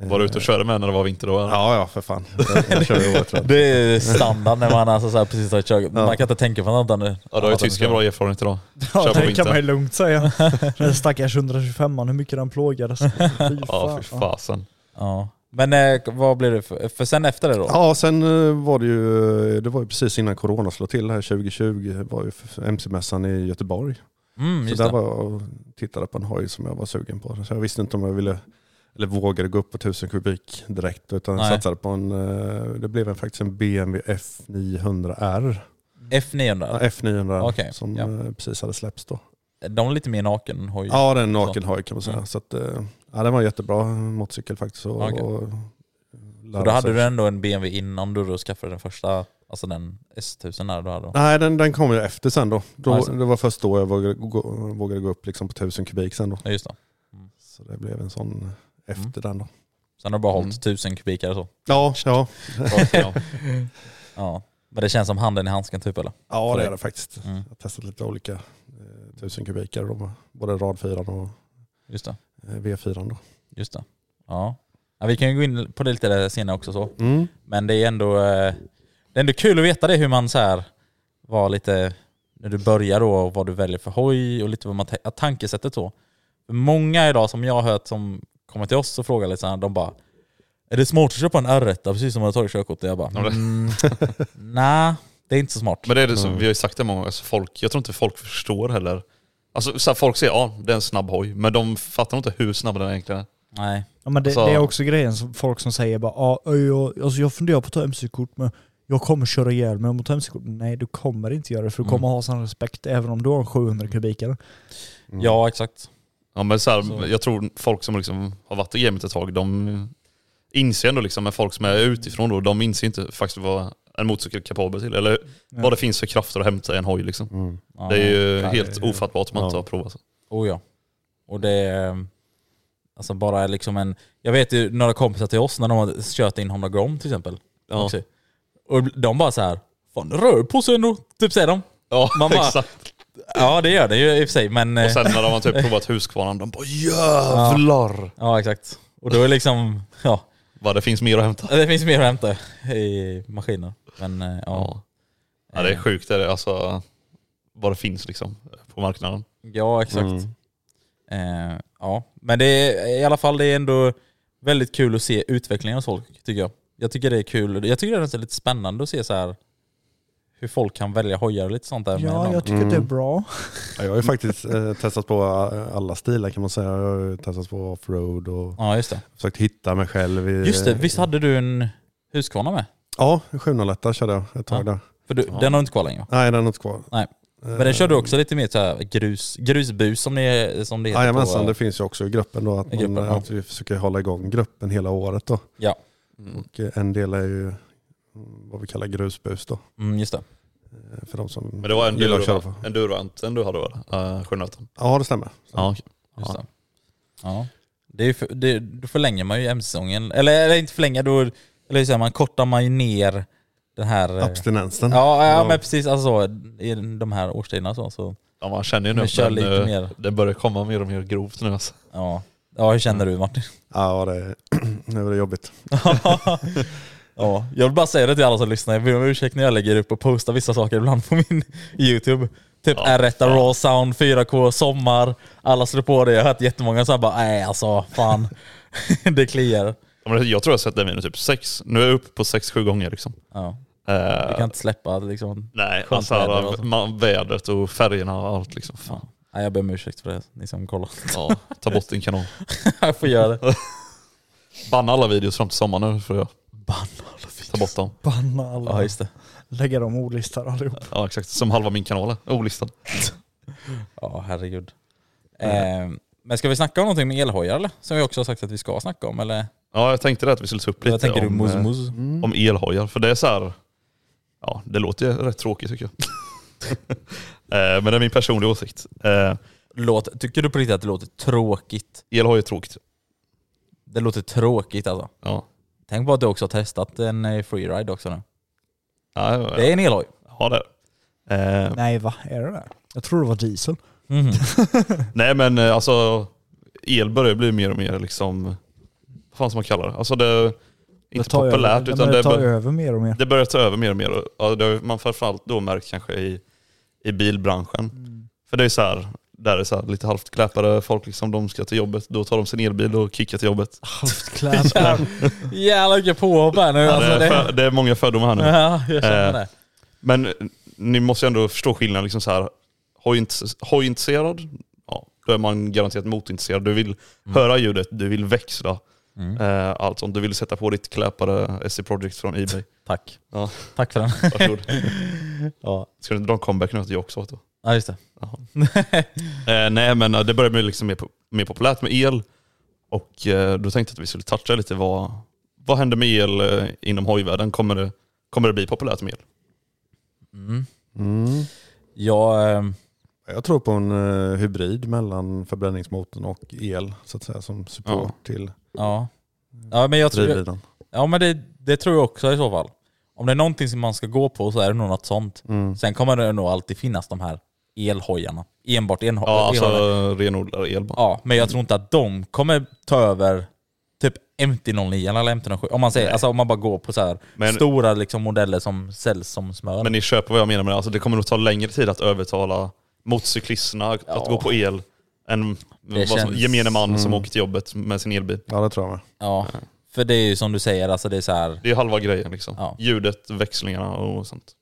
B: Var du ute och körde med när det var vinter då? eller?
E: Ja, ja för fan. Jag, jag kör ju året runt.
C: Det är standard när man alltså så här precis har kört. Man kan inte tänka på något annat.
B: Ja, då har ju tyska bra erfarenhet idag.
D: Ja,
B: Kör på
D: det kan
B: vintern.
D: man ju lugnt säga. Den stackars 125an, hur mycket den plågades. Fy
B: Ja, fy
D: fan.
B: fasen.
C: Ja. Men eh, vad blev det för, för sen efter det då?
E: Ja, sen eh, var det ju, eh, det var ju precis innan corona slog till här 2020, var ju f- MC-mässan i Göteborg.
C: Mm,
E: Så
C: just
E: där
C: det.
E: var jag och tittade på en hoj som jag var sugen på. Så jag visste inte om jag ville, eller vågade gå upp på 1000 kubik direkt, utan
C: Nej.
E: satsade på en, eh, det blev en, faktiskt en BMW F900R. Ja,
C: F900.
E: F900
C: Okej,
E: som
C: ja.
E: eh, precis hade släppts då.
C: De är lite mer naken hoj.
E: Ja, det är en naken hoj kan man säga.
C: Mm.
E: Så att, eh, ja, den var en jättebra motorcykel faktiskt. Och,
C: Okej.
E: och,
C: så då hade du ändå en BMW innan du då skaffade den första, alltså den S1000 där du hade då.
E: Nej, den, den kom ju efter sen då. då
C: Alltså.
E: Det var först då jag vågade gå, vågade gå upp liksom på 1000 kubik sen då.
C: Ja, just det.
E: Så det blev en sån efter
C: Mm.
E: den då.
C: Sen har du bara hållit
B: Mm.
C: 1000 kubikar och så.
E: Ja, ja.
B: Ja, ja.
C: Ja. Men det känns som handen i handsken typ eller?
E: ja
C: Så
E: det
C: det-
E: är det faktiskt.
C: Mm.
E: Jag har testat lite olika eh, 1000 kubikar, då, både rad 4 och
C: Just det.
E: eh, V4. Då.
C: Just det. Ja. ja. Vi kan ju gå in på det lite där senare också så.
E: Mm.
C: Men det är ändå, eh, det är ändå kul att veta det hur man så här var lite, när du börjar då, och vad du väljer för hoj och lite vad man, ta- tankesättet så. Många idag som jag har hört som kommer till oss och frågar lite så här, de bara Är det smart att köpa en R1 precis som man har tagit körkort? Och Jag bara,
B: Ja, det-
C: mm, nej det är inte så smart.
B: Men det är det som
E: Mm.
B: vi har ju sagt det många gånger, alltså folk, jag tror inte folk förstår heller. Alltså så här, folk säger ja, det är en snabb hoj, men de fattar nog inte hur snabb den egentligen är.
C: Nej.
D: Ja, men det,
B: Alltså-
D: det är också grejen, som folk som säger bara ah, jag, alltså jag funderar på att ta mc-kort men jag kommer köra ihjäl mig om jag tar mc-kort. Nej du kommer inte göra det för du
C: Mm.
D: kommer ha sån respekt även om du har en 700 kubikare.
E: Mm.
C: Ja exakt.
B: Ja, men så här,
C: Så.
B: Jag tror folk som liksom har varit i gamet ett tag, de inser ändå liksom, men folk som är utifrån då, de inser inte faktiskt vad en motorcykel är kapabel till. Eller vad det finns för krafter att hämta i en hoj liksom.
E: Mm.
C: Ja,
B: Det är ju
E: nej,
B: helt
E: det är-
B: ofattbart om man inte
E: ja.
B: har provat.
C: Oh ja. Och det är, alltså bara liksom en, jag vet ju några kompisar till oss när de har kört in Honda Grom till exempel.
B: Ja,
C: Också. Och de bara så här, fan den rör på sig ändå, typ säger de.
B: ja
C: Man bara-
B: exakt.
C: Ja det gör det ju i och för sig men... eh,
B: Och sen när de har typ provat Husqvarna, de bara jävlar
C: Ja exakt. Och då är liksom, ja
B: vad det finns mer att hämta.
C: det finns mer att hämta i maskiner. Men eh, ja.
B: Ja. Ja, det är sjukt det är det. Alltså, vad det finns liksom på marknaden.
C: Ja, exakt. Eh, ja, men det är i alla fall det är ändå väldigt kul att se utvecklingen hos folk tycker jag. Jag tycker det är kul. Jag tycker det är nästan lite spännande att se så här hur folk kan välja hojar och lite sånt där. med
D: Ja,
C: dem.
D: jag tycker
E: Mm.
D: det är bra.
E: Ja, jag har ju faktiskt eh, testat på eh, alla stilar kan man säga. Jag har ju testat på offroad och
C: ja just det.
E: försökt hitta mig själv. I,
C: Just det, visst hade du en Husqvarna med?
E: Ja, 701 körde jag ett tag
C: Ja.
E: där.
C: För du, Den har du inte kvar längre.
E: Nej, den är inte kvar.
C: Nej. Men den körde du också lite mer så här grus, grusbus som det, Ah, som det heter.
E: Jajamensan,
C: på,
E: det finns ju också i gruppen då Eh, att,
C: I
E: man,
C: gruppen, ja.
E: att vi försöker hålla igång gruppen hela året då.
C: ja,
E: Och eh, en del är ju mm, vad vi kallar grusbus då.
C: mm, just det.
E: eh, För de som
B: Men det var en
E: gillar att
B: duro,
E: köra på.
B: en duro den du hade väl? Uh, 708?
E: Ja, det stämmer.
B: Ja, okej.
C: Just
B: Ja.
C: det. Ja. Det är ju för, det, då förlänger man ju MC-säsongen. Eller, eller inte förlänga, då eller hur säger man kortar man ju ner den här... eh,
E: Abstinensen.
C: Ja, ja
E: Ja.
C: men precis. Alltså, så, i de här årstiderna så. så
B: Ja, man känner ju nu
C: Men
B: att
C: kör
B: den,
C: lite
B: eh,
C: mer.
B: den börjar komma mer och mer grovt nu alltså.
C: ja. ja, hur känner du Martin?
E: Ja, det är, nu är det jobbigt.
C: ja, jag vill bara säga det till alla som lyssnar. Jag ber om ursäkt när jag lägger upp och postar vissa saker ibland på min YouTube. Typ
B: Ja,
C: R1 Raw Sound, 4K, sommar. Alla slår på det. Jag har hört jättemånga som bara nej alltså fan. det kliar.
B: Ja, men Jag tror jag har sett den videon typ sex, nu är jag uppe på sex, sju gånger liksom.
C: Ja,
B: Eh,
C: jag kan inte släppa liksom.
B: Nej,
C: skönt
B: alltså,
C: väder och så.
B: man, vädret och färgerna och allt liksom. Fan.
C: Ja. Nej, jag ber om ursäkt för det, ni som kollar.
B: Ja, ta bort din kanal.
C: jag får göra det.
B: Banna alla videos fram till sommaren nu får jag ta bort dem.
D: Banna alla.
C: Ja, just det.
D: Lägga dem olistar allihop.
B: Ja exakt, som halva min kanal är. Oh, Olistad.
C: Ja, herregud. Eh, men ska vi snacka om någonting med elhojar eller? Som vi också har sagt att vi ska snacka om eller?
B: Ja jag tänkte det att vi skulle ta upp
C: Vad
B: lite
C: tänker du?
B: om,
C: Mus,
B: eh,
C: mus?
B: om elhojar. För det är så här, ja det låter ju rätt tråkigt tycker jag. Eh, Men det är min personliga åsikt. Eh,
C: Låt, tycker du på riktigt att det låter tråkigt?
B: Elhoj är tråkigt.
C: Det låter tråkigt alltså.
B: Ja.
C: Tänk på att du också har testat en eh, freeride också nu.
B: Ja, ja,
C: Det är en elhoj.
B: ja, det är det. Eh,
D: Nej va, är det det? Jag tror det var diesel.
C: Mhm.
B: Nej men eh, alltså el börjar bli mer och mer liksom, vad fan ska man kalla det? Alltså det är inte
D: tar
B: populärt
D: över,
B: utan
D: men det
B: det,
D: tar
B: bör,
D: över mer och mer.
B: det börjar ta över mer och mer. Ja, det har man framförallt då märkt kanske i, i bilbranschen.
C: Mm.
B: För det är så här, där är så här, lite halvt kläpade folk liksom, de ska till jobbet, då tar de sin elbil och kickar till jobbet.
D: Halvt kläder.
C: Jävlar vilket påhopp här nu.
B: Ja, det,
C: Alltså,
B: är
C: det...
B: för, det är många fördomar här nu.
C: Ja, jag känner
B: Eh,
C: det.
B: Men ni måste ju ändå förstå skillnaden. Liksom så här, hojint- hojintresserad, ja, då är man garanterat motintresserad. Du vill höra ljudet, du vill växla. Eh, allt sånt. Du vill sätta på ditt kläpare SC Project från Ebay.
C: Tack.
B: Ja.
C: Tack för den.
B: Varsågod.
C: Ja,
B: Ska du inte dra en comeback nu att jag också åt det?
C: ja just det.
B: Eh, nej men eh, det börjar bli liksom mer, po- mer populärt med el. Och eh, då tänkte jag att vi skulle toucha lite vad, vad händer med el eh, inom hojvärlden? Kommer det, kommer det bli populärt med el?
E: Mm.
C: Jag, eh,
E: Jag tror på en eh, hybrid mellan förbränningsmotorn och el så att säga som support till
C: ja. ja, men jag tror,
E: drivlinan.
C: Ja men det, det tror jag också i så fall. Om det är någonting som man ska gå på så är det nog något sånt.
B: Mm.
C: Sen kommer det nog alltid finnas de här elhojarna. Enbart enho-
B: Ja, alltså
C: elhojarna.
B: renodlad el bara.
C: Ja, men jag tror inte att de kommer ta över typ MT-09 eller MT-07. Om man säger, alltså om man bara går på så här
B: Men-
C: stora liksom modeller som säljs som smör.
B: Men ni köper vad jag menar med det. Alltså det kommer nog ta längre tid att övertala motorcyklisterna att
C: Ja.
B: gå på el än vad som,
C: känns- Mm.
B: gemene man som åker till jobbet med sin elbil.
E: Ja det tror jag med.
C: ja, för det är ju som du säger, alltså det är så här.
B: Det är halva grejen liksom.
C: Ja.
B: Ljudet, växlingarna och sånt.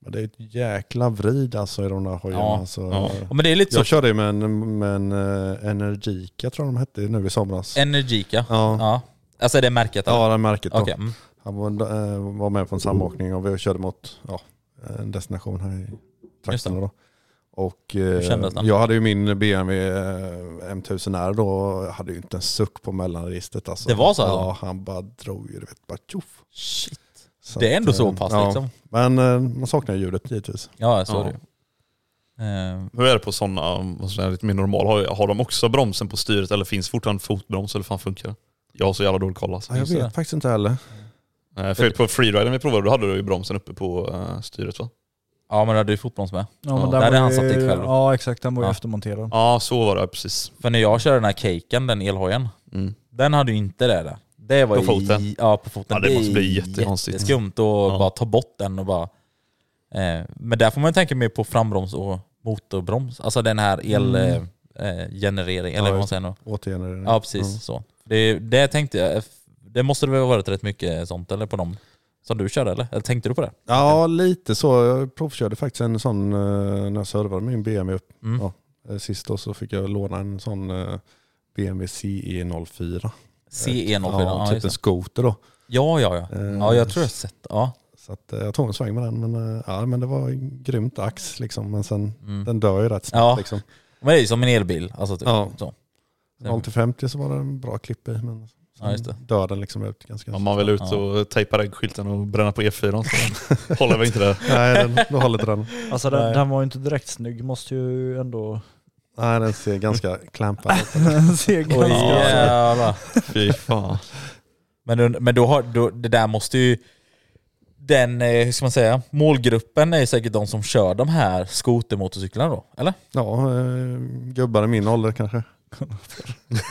E: Men det är ett jäkla vrid alltså i de där hojarna.
C: Ja,
E: Alltså,
B: ja.
C: Ja, men det är lite
E: Jag
C: så
E: körde ju med en, med en eh, Energica tror jag de hette nu i somras.
C: energika.
E: Ja.
C: ja. Alltså är det märket? eller?
E: Eh, Ja, det här märket då.
C: Okej. Mm.
E: Han var, eh, var med på en samåkning och vi körde mot ja, en destination här i
C: Just det.
E: trakterna. Då. Och, eh,
C: kändes den?
E: jag hade ju min BMW eh, M1000R då och jag hade ju inte en suck på mellanregistret. Alltså.
C: Det var så,
E: Ja,
C: alltså?
E: han bara drog ju, du vet, bara tjoff.
C: Shit.
E: Så
C: Det är
E: att,
C: ändå så
E: eh,
C: pass
E: ja.
C: liksom.
E: Men eh, man saknar ju ljudet givetvis.
C: Ja, så
B: Ja.
C: är det ju. Eh,
B: Hur är det på um, sådana lite mer normala? Har, har de också bromsen på styret eller finns fortfarande fotbroms eller fan funkar det? Jag har så jävla dålig koll alltså.
E: Ja, jag
C: Just
E: vet
C: det.
E: faktiskt inte heller.
B: Eh, För på freeriden vi provade då hade du ju bromsen uppe på eh, styret va?
C: Ja men det hade ju fotbroms med.
D: Ja,
C: där hade
D: var
C: han
D: ju-
C: satt dit själv.
D: Ja exakt, den var ju
C: Ja.
D: eftermonterad.
B: Ja så var det, precis.
C: För när jag körde den här caken, den elhojen,
B: Mm.
C: den hade ju inte det där. Det var
B: På
C: ju,
B: foten?
C: Ja på foten.
B: Ja, det måste
C: är
B: bli jättekonstigt.
C: Jätteskumt att
B: Ja.
C: bara ta bort den och bara... Eh, men där får man ju tänka mer på frambroms och motorbroms. Alltså den här elgenereringen, eh, generering,
E: Mm.
C: eller
E: Ja,
C: vad man
E: just
C: säger nu.
E: Återgenerering. Mm.
C: Ja precis så. Det, det tänkte jag, det måste det väl ha varit rätt mycket sånt eller på dem som du körde eller? Eller tänkte du på det?
E: Ja, lite så. Jag provkörde faktiskt en sån eh, när jag servade min BMW upp
C: Mm.
E: Ja. eh, sist och så fick jag låna en sån eh, BMW CE04.
C: CE04.
E: ja,
C: E Ja,
E: typ
C: just
E: en
C: det.
E: skoter då.
C: ja, ja, ja.
E: Eh,
C: Ja, jag tror jag har sett. Ja.
E: Så att, eh, jag tog en sväng med den, men, eh, ja, men det var en grymt ax liksom. Men sen,
C: Mm.
E: den dör ju rätt snabbt
C: Ja.
E: liksom.
C: Men det är ju som en elbil. Alltså typ.
E: Ja.
C: så.
E: 0 till 50 så var det en bra klipp i, men sen
C: Ja, just det.
E: dör den liksom ut ganska
B: Om man vill ut
C: Ja.
B: och tejpa äggskylten och bränna på E4 så håller vi inte det.
E: Nej, den, då håller inte den.
D: Alltså den, den var ju inte direkt snygg, måste ju ändå
E: Nej, den ser ganska klampad ut.
D: se
C: Oj,
D: ganska...
C: jävlar.
B: Fy fan.
C: Men, du- men då har, då, det där måste ju... Den, eh, hur ska man säga, målgruppen är ju säkert de som kör de här skotermotorcyklarna då, eller?
E: Ja, eh, gubbar i min ålder kanske.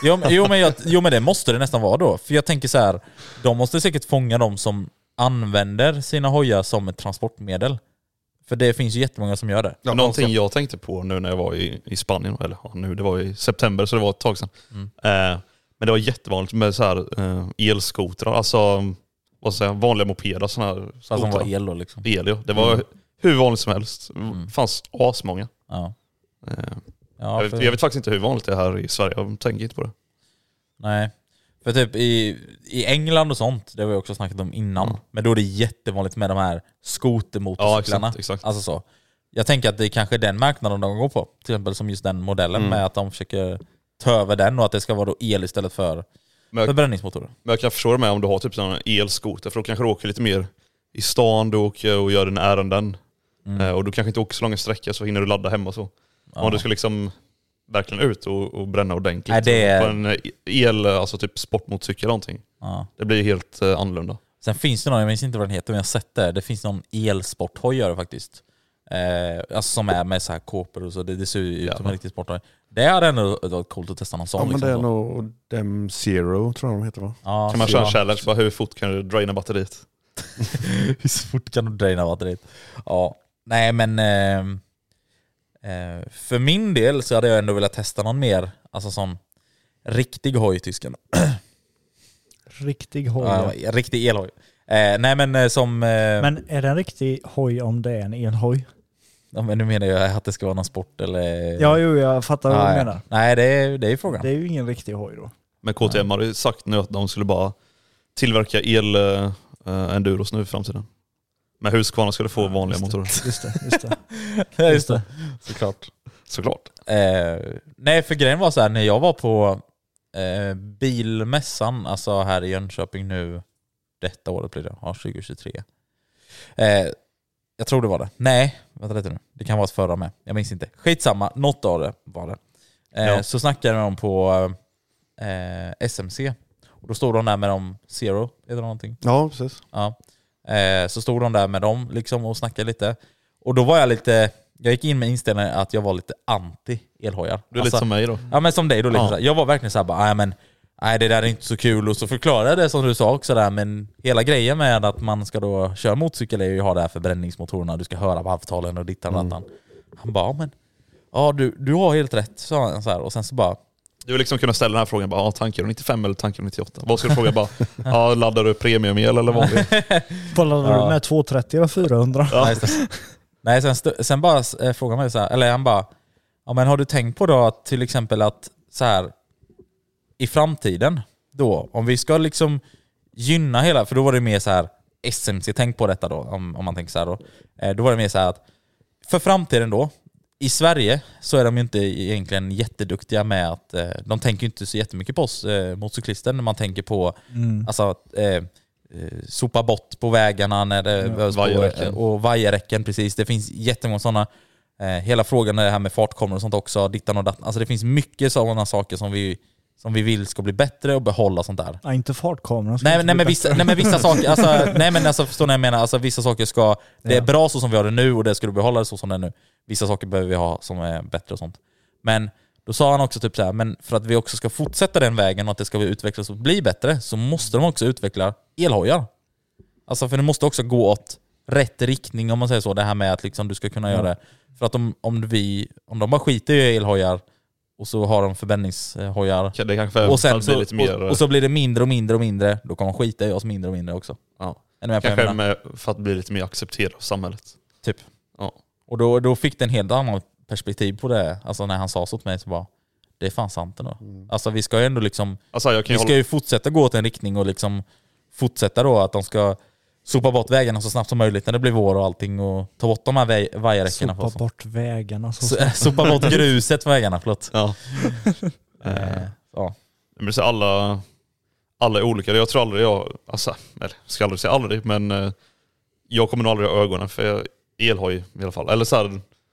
C: Jo, men- jo, men jag, jo men det måste det nästan vara då. För jag tänker så här, de måste säkert fånga de som använder sina hojar som ett transportmedel. För det finns ju jättemånga som gör det.
B: Någonting jag tänkte på nu när jag var i, i Spanien, eller ja, nu, det var i september så det var ett tag sedan. Eh, men det var jättevanligt med så här, eh, elskotrar, alltså vad ska jag säga, vanliga mopeder. Såna här
C: Så att de
B: skotrar.
C: var el då liksom.
B: El, ja. Det var hur vanligt som helst. Det
C: Mm.
B: fanns asmånga.
C: Ja.
B: Eh,
C: Ja,
B: jag,
C: för-
B: vet, jag vet faktiskt inte hur vanligt det är här i Sverige, jag tänker inte på det.
C: Nej. För typ i, i England och sånt, det har vi också snackat om innan,
B: Mm.
C: men då är det jättevanligt med de här skotermotorcyklarna.
B: Ja, exakt, exakt.
C: Alltså så. Jag tänker att det är kanske är den marknaden de går på, till exempel som just den modellen
B: Mm.
C: med att de försöker ta över den och att det ska vara då el istället för
B: Men jag,
C: förbränningsmotorer.
B: men jag kan förstå det med om du har typ sådana elskoter, för då kanske du åker lite mer i stan, du åker och gör dina ärenden.
C: Mm.
B: Eh, och du kanske inte åker så långa sträckor så hinner du ladda hemma och så. Om du ska liksom verkligen ut och, och bränna ordentligt
C: Nej, det är-
B: på en eh, el, alltså typ sportmotorcykel eller någonting.
C: Ja.
B: Det blir helt eh, annorlunda.
C: Sen finns det någon, jag minns inte vad den heter, men jag har sett det. Det finns någon elsporthoj gör det faktiskt. Eh, alltså som är med så här kåpor och så. Det, det ser ju ut som
B: Jävlar.
C: en riktig sporthoj. Det hade ändå varit coolt att testa någon sån.
E: Ja, men
C: liksom
E: det är
C: så.
E: nog Dem Zero tror jag de heter va?
C: Ja,
B: Kan man
C: så-
B: köra
C: ja.
B: en challenge, bara hur fort kan du draina batteriet?
C: Hur fort kan du draina batteriet? Ja, nej men ehm, eh, för min del så hade jag ändå velat testa någon mer, alltså sån riktig hoj i tysken.
D: Riktig hoj.
C: Ja, riktig elhoj. Eh, nej men eh, som... Eh, men...
D: Men är det en riktig hoj om det är en elhoj?
C: Ja, men nu menar jag att det ska vara någon sport eller...
D: Ja, jo, jag fattar vad
C: Ja,
D: du
C: ja.
D: menar.
C: Nej, det är, det är frågan.
D: Det är ju ingen riktig hoj då.
B: Men KTM har ju sagt nu att de skulle bara tillverka el eh, eh, enduros nu i framtiden. Men Husqvarna skulle få vanliga motorer.
D: Just det, just det.
C: Ja,
D: Just det.
C: Såklart.
B: Såklart.
C: Eh, nej, för grejen var så här, när jag var på eh, bilmässan, alltså här i Jönköping nu, detta året blir det, ja 2023. Eh, jag tror det var det. Nej, vänta lite nu. Det kan vara ett förra med. Jag minns inte. Skitsamma, något av det var det. Eh,
B: Ja.
C: Så snackade de på eh, SMC. Och då stod de där med de Zero, heter det någonting?
E: Ja, precis.
C: Ja. Eh, så stod de där med dem liksom och snackade lite. Och då var jag lite, jag gick in med inställningen att jag var lite anti elhojar. Alltså,
B: Du är lite som mig då.
C: Ja men som dig då, lite
B: Ja.
C: så här. jag var verkligen såhär bara, nej men nej det där är inte så kul och så förklarade jag det som du sa också där men hela grejen med att man ska då köra motorcykel är ju att ha det här förbränningsmotorerna, du ska höra varvtalen och dittan och
E: Mm.
C: dattan. Han bara, ja men ja du, du har helt rätt sa han så här. och sen så bara
B: Du vill liksom kunna ställa den här frågan, bara, ah, tankar du 95 eller tankar du 98? Vad ska du fråga? Bara, ah, laddar du premiumel eller vanlig?
D: Kollade
C: Ja.
D: du med 230 eller 400?
B: Ja.
C: Nej, sen, nej, sen, stö- sen bara eh, frågar man ju så här, eller han bara, ja men har du tänkt på då att till exempel att så här i framtiden då, om vi ska liksom gynna hela, för då var det mer så här SMC, tänk på detta då, om, om man tänker så här då. Eh, då var det mer så här att för framtiden då, i Sverige så är de ju inte egentligen jätteduktiga med att, eh, de tänker ju inte så jättemycket på oss eh, motorcyklister när man tänker på alltså, att, eh, eh, sopa bort på vägarna när det behövs på-
B: vajerräcken.
C: och vajerräcken, precis. Det finns jättemånga sådana. Eh, hela frågan är det här med fartkameror och sånt också, dittan och dattan. Alltså det finns mycket sådana saker som vi, som vi vill ska bli bättre och behålla sånt där.
D: Nej, inte fartkameran. ska
C: Nej,
D: inte
C: nej,
D: bli
C: men
D: bättre.
C: vissa, nej men vissa saker, alltså, nej men alltså förstår ni vad jag menar? Alltså vissa saker ska, det är
D: Ja.
C: bra så som vi har det nu och det ska du behålla det så som det är nu. Vissa saker behöver vi ha som är bättre och sånt. Men då sa han också typ så här, men för att vi också ska fortsätta den vägen och att det ska utvecklas och bli bättre så måste de också utveckla elhojar. Alltså för det måste också gå åt rätt riktning om man säger så. Det här med att liksom du ska kunna göra det. För att om, om, vi, om de bara skiter i elhojar och så har de förbränningshojar
B: Det kanske
C: och, sen
B: överfall blir
C: så,
B: lite mer... eh.
C: och, och så blir det mindre och mindre och mindre. Då kommer de skita i oss mindre och mindre också.
B: ja.
C: Är ni med på vad jag
B: Kanske
C: menar?
B: med, för att bli lite mer accepterad av samhället.
C: Typ.
B: Ja.
C: Och då, då fick det en helt annan perspektiv på det. Alltså när han sa så till mig så bara, det är fan sant ändå. Alltså vi ska ju ändå liksom,
B: Alltså, jag Mm. kan
C: vi
B: ju
C: ska
B: hålla,
C: ju fortsätta gå åt en riktning och liksom fortsätta då att de ska sopa bort vägarna så snabbt som möjligt när det blir vår och allting och ta bort de här vä- vajerräckena.
D: Sopa
C: för oss.
D: bort vägarna. Så.
C: Så- sopa bort gruset på vägarna, förlåt.
B: ja.
C: Eh, ja.
B: Men det är alla, alla är olika. Jag tror aldrig jag, alltså, eller jag ska aldrig säga aldrig, men eh, jag kommer nog aldrig ha ögonen för jag- elhoj i alla fall. Eller så här,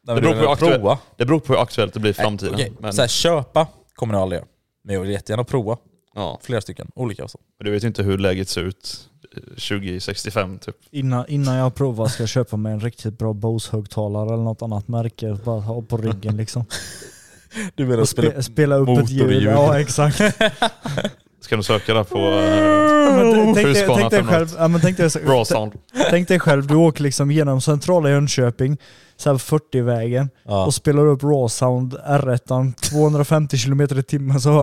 C: Det
B: beror på hur aktuell-
C: prova.
B: det beror på hur aktuellt det blir i framtiden.
C: Äh, Okej,
B: Men,
C: så här, köpa kommer jag aldrig göra. Men jag vill jättegärna prova.
B: ja,
C: Flera stycken, olika och så.
B: men du vet ju inte hur läget ser ut eh, 2065 typ.
D: Innan, innan jag provar ska jag köpa mig en riktigt bra Bose-högtalare eller något annat märke. Bara ha på ryggen liksom.
C: Du menar
D: Och spe, spela upp ett ljud.
C: motorljud.
D: Ja exakt.
B: Ska du söka där på eh,
D: Ja, men tänk, dig, tänk,
B: Husqvarna
D: dig själv,
B: 501.
D: ja, men tänk, dig,
B: bra sound?
D: tänk dig själv, du åker liksom genom centrala Jönköping, så här 40-vägen,
C: Ja.
D: och spelar upp Raw Sound R1, 250 km i timmen. Så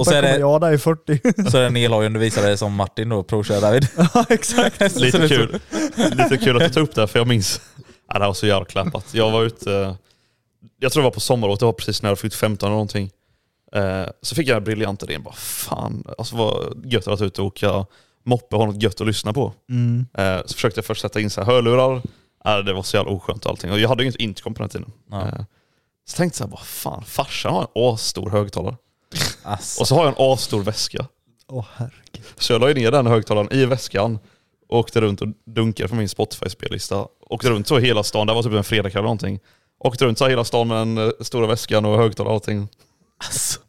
D: Och
C: så är det-
D: Jag där i 40.
C: Så den elhojen du visade som Martin då provkör David.
D: ja exakt.
B: Lite kul. Lite kul att du tog upp det här, för jag minns. Ja, det var så jävla klappat. Jag var ute, eh, jag tror det var på sommarlovet, det var precis när jag fyllt 15 eller någonting. Eh, Så fick jag en briljant idé, bara fan, alltså vad gött det hade varit ute och åka moppe och ha något gött att lyssna på.
D: Mm.
B: Eh, Så försökte jag först sätta in så här hörlurar, Nej, det var så jävla oskönt och allting. Och jag hade ju inte intercom på den tiden.
C: Ja.
B: Eh, Så tänkte jag, bara fan, farsan har en asstor högtalare.
C: Alltså,
B: Och så har jag en asstor väska.
D: Åh herregud.
B: Så jag la ju ner den högtalaren i väskan och åkte runt och dunkade för min Spotify-spellista. Åkte runt så hela stan, det här var typ en fredagkväll eller någonting. Åkte runt så här hela stan med den eh, stora väskan och högtalare och allting.
C: alltså.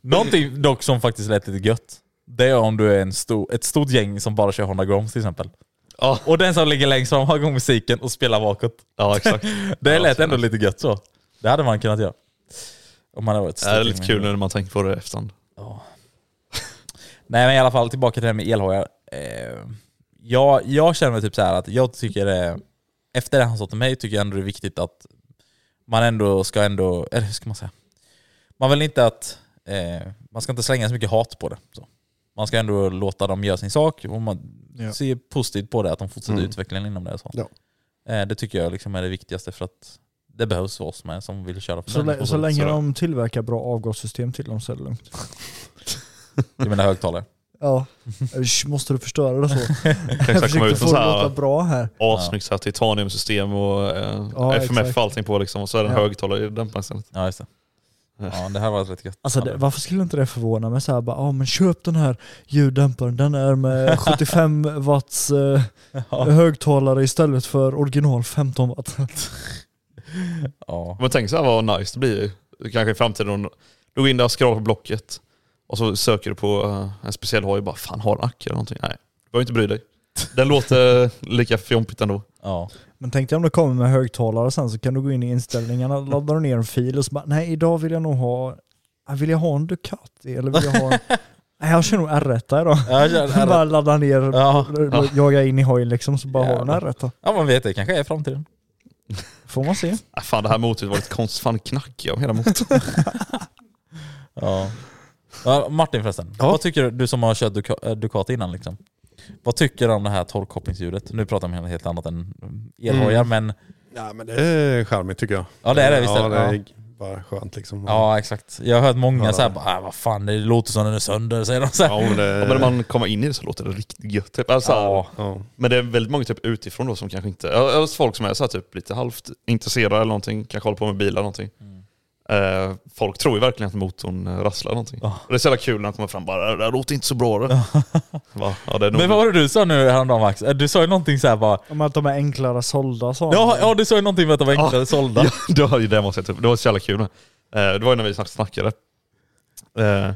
C: Någonting dock som faktiskt lät lite gött. Det är om du är en stor, ett stort gäng som bara kör Honda Groms till exempel.
B: Ja.
C: Och den som ligger längst fram har igång musiken och spelar bakåt.
B: Ja exakt.
C: Det
B: Ja,
C: lät
B: så är
C: ändå
B: det.
C: lite gött så. Det hade man kunnat göra. Om man hade varit ett
B: Det är
C: stort
B: lite
C: gäng.
B: kul när man tänker på det i efterhand.
C: Nej men i alla fall tillbaka till det här med elhojar. Eh, jag, jag känner mig typ så här att jag tycker det, efter det han sa till mig tycker jag ändå det är viktigt att man ändå ska ändå, eller hur ska man säga? Man vill inte att, eh, man ska inte slänga så mycket hat på det. Så. Man ska ändå låta dem göra sin sak och man
D: Ja.
C: ser positivt på det, att de fortsätter
E: Mm.
C: utvecklingen inom det. och Så.
E: Ja.
C: Eh, det tycker jag liksom är det viktigaste för att det behövs för oss med som vill köra
D: Så, lä- så
C: förbränningsmotorer.
D: länge
B: så-
D: de tillverkar bra avgassystem till dem så är det lugnt.
C: Du menar högtalare?
D: Ja. Usch, Måste du förstöra det så?
B: Kan
D: Jag
B: exakt komma
D: försökte
B: ut
D: få
B: med
D: det
B: så
D: att låta
B: här
D: bra här.
B: assnyggt så här titaniumsystem och eh,
D: Ja,
B: FMF
D: exakt.
B: och allting på liksom. Och så är det en
D: Ja.
B: högtalare i dämparen istället.
C: Ja just det. Ja det här var rätt gött.
D: Alltså det, varför skulle inte det förvåna mig såhär bara, ah, men köp den här ljuddämparen, den är med 75 watts eh,
C: Ja.
D: högtalare istället för original 15 watt.
C: Ja.
B: Men tänk så här vad nice det blir kanske i framtiden. om Du går in där och scrollar på Blocket och så söker du på eh, en speciell hoj och bara fan har den ack eller någonting? Nej, du behöver inte bry dig. Den låter lika fjompigt ändå.
C: Ja.
D: Men tänk dig om det kommer med högtalare sen så kan du gå in i inställningarna, laddar du ner en fil och så bara, nej idag vill jag nog ha, ah, vill jag ha en Ducati eller vill jag ha en, nej jag kör nog R1 idag. bara laddar ner,
C: Ja.
D: jagar in i hojen liksom så bara har
C: Jävlar.
D: den R1.
C: ja man vet det kanske är framtiden.
D: Får man se.
B: Ah, fan det här motorn var lite konstigt. Fan knackig om hela motorn.
C: Ja. Ja, Martin förresten,
E: Ja.
C: vad tycker du, du som har kört Duca- eh, Ducati innan liksom? Vad tycker du om det här torkkopplingsljudet? Nu pratar vi om helt annat än
E: Mm.
C: elhojar men
E: Ja, men det är charmigt tycker jag.
C: Ja, det är det, visst är
E: Ja,
C: det.
E: det är bara skönt liksom.
C: ja exakt. Jag har hört många
E: Ja.
C: såhär, ah, vad fan det låter som den är sönder säger de såhär.
E: Ja, men det,
B: Ja, men när man kommer in i det så låter det riktigt gött. Typ. Alltså,
C: Ja.
E: ja.
B: Men det är väldigt många typ utifrån då som kanske inte, ja, ja, folk som är så här, typ lite halvt intresserade eller någonting, kanske håller på med bilar eller någonting. Eh, folk tror ju verkligen att motorn eh, rasslar någonting. Och det är så jävla kul när de kommer fram bara, det här låter inte så bra det. Va? Ja, det är nog
C: Men vad var det du sa nu häromdagen Max? Äh, Du sa ju någonting såhär bara,
D: Om att de är enklare sålda sa
C: ja, ja du sa ju någonting med att de var enklare sålda.
B: Ja, det var ju det måste jag ta upp. Det var så jävla kul. Eh, Det var ju när vi snack- snackade. Eh,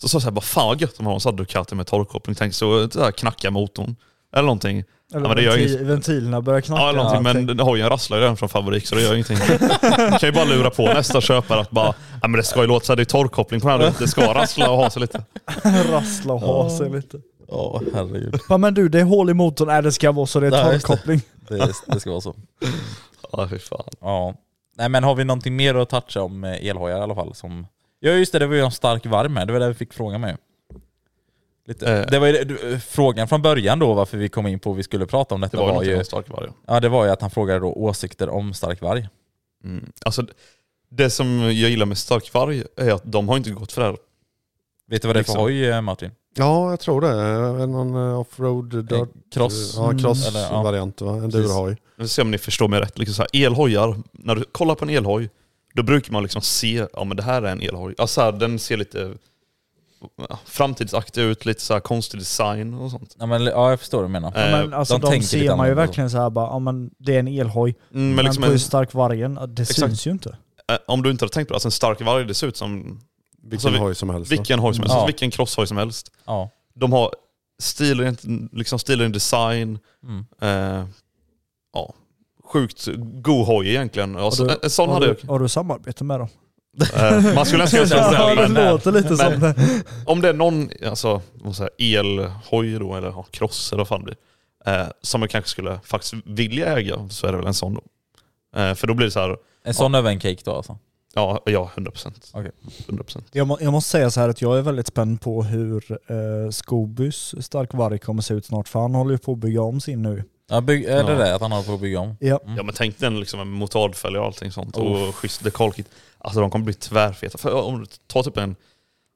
B: Så sa jag så här, bara fan vad gött om man har en sån här Ducati med torrkoppling. Tänkte så, så här, knacka motorn. Eller någonting.
D: Eller
B: Ja, men det gör
D: ventil,
B: ju-
D: ventilerna börjar knacka.
B: Ja, eller någonting. Men hojen rasslar ju redan från fabrik så det gör ju ingenting. Man kan ju bara lura på nästa köpare att bara, ja men det ska ju låta så här, det är torrkoppling på den här. Det ska rassla och ha sig lite.
D: Rassla och ha sig lite.
C: Ja herregud.
D: Ja, men du, det är hål i motorn. Nej, det ska vara så. Det
C: Ja,
D: är
C: just det.
D: torrkoppling.
C: Det, det ska vara så.
B: Ja fy fan.
C: Ja. Nej men har vi någonting mer att toucha om eh, elhojar i alla fall? Som... Ja just det, det var ju en stark varm här. Det var det vi fick frågan med. Lite.
B: Eh.
C: Det var ju, det- du- frågan från början då varför vi kom in på att vi skulle prata om detta
B: Det var,
C: var
B: ju
C: ju,
B: en stark varje.
C: ja, det var ju att han frågade då åsikter om stark varg.
B: Mm. Alltså, det som jag gillar med stark varg är att de har inte gått för det här.
C: Vet du vad det är för
B: Liksom.
C: hoj eh, Martin?
E: ja, jag tror det. Är det Någon eh, offroad dirt.
C: Cross?
D: Mm.
C: Mm.
E: Ja,
C: Eller, ja.
E: cross-variant va? Enduro-hoj.
B: Nu ska se om ni förstår mig rätt. Liksom så här, elhojar, när du kollar på en elhoj, då brukar man liksom se, ja men det här är en elhoj. Ja, så här, den ser lite ja, framtidsaktig ut, lite så här konstig design och sånt.
C: Ja, men, ja jag förstår vad du menar.
D: Ja, men
B: Eh,
D: alltså,
C: de
D: de,
C: tänker lite
D: ser man ju
C: annorlunda.
D: verkligen så här bara, ja, men det är en elhoj.
B: Mm, men
D: Men
B: liksom
D: på hur
B: en,
D: stark vargen, ja, det
B: Exakt.
D: syns ju inte.
B: eh, om du inte har tänkt på det, alltså en stark varg, det ser ut som alltså,
E: Vilken
B: vi-
E: hoj som helst. va?
B: vilken hoj som helst,
C: Ja.
B: vilken crosshoj som helst.
C: Ja.
B: De har stilren, liksom stilren design,
C: Mm.
B: eh, ja, sjukt god hoj egentligen. Alltså,
D: du-
B: en- en sån
D: har,
B: hade
D: du,
B: jag.
D: har du samarbete med dem?
B: Eh, man skulle önska en sån
D: Ja,
B: där.
D: det
B: men-
D: låter lite
B: men-
D: som det.
B: Om det är någon alltså, vad ska jag säga, elhoj då, eller ja, cross eller vad fan det blir, eh, som jag kanske skulle faktiskt vilja äga så är det väl en sån då. Eh, för då blir det så här,
C: En sån över en cake då alltså?
B: ja, ja 100%.
C: Okej.
B: 100%.
D: Jag, må, jag måste säga så här att jag är väldigt spänd på hur eh, Skobys stark varg kommer se ut snart, för han håller ju på att bygga om sin nu.
C: Ja, bygg, är det
B: Ja.
C: det att han håller på att bygga om?
D: Ja.
B: Ja men tänk den liksom med motardfälgar och allting sånt
C: Oh.
B: och schysst dekalkit. Alltså de kommer bli tvärfeta. För om du tar typ en,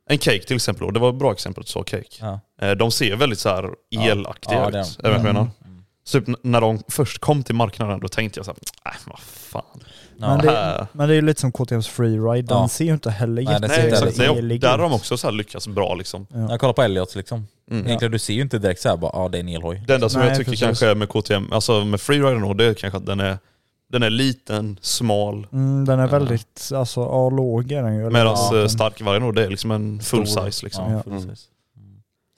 B: en cake till exempel, och det var ett bra exempel att du sa cake.
C: Ja.
B: Eh, de ser väldigt så här elaktiga
C: Ja,
B: ut.
C: det är
B: Är
C: de.
B: vad jag menar.
C: Mm.
B: Så typ n- när de först kom till marknaden då tänkte jag så här, äh, vad fan. Äh.
C: Ja.
D: Men,
B: Här.
D: det, men det är ju lite som KTMs freeride, den
C: Ja.
D: ser ju inte heller
C: Nej, den ser
B: Nej,
C: inte
B: exakt.
C: heller-
B: Nej, och
D: elig
B: där har
D: ut.
B: de också så här lyckats bra. Liksom.
C: Jag kollar på Elliot liksom.
B: Mm.
C: Egentligen du ser ju inte direkt såhär bara ah, det är en elhoj.
B: Det enda som
D: Nej,
B: jag tycker
D: precis.
B: kanske är med KTM, alltså med freeriden då, det är kanske att den är, den är liten, smal.
D: Mm, den är
B: Ja.
D: väldigt, alltså ja, låg är den ju. eller
B: Medan
D: vad
B: eh,
D: den-
B: starkvargen då, det är liksom en full
C: Stor.
B: size. Liksom.
C: Ja,
D: Ja.
C: full size.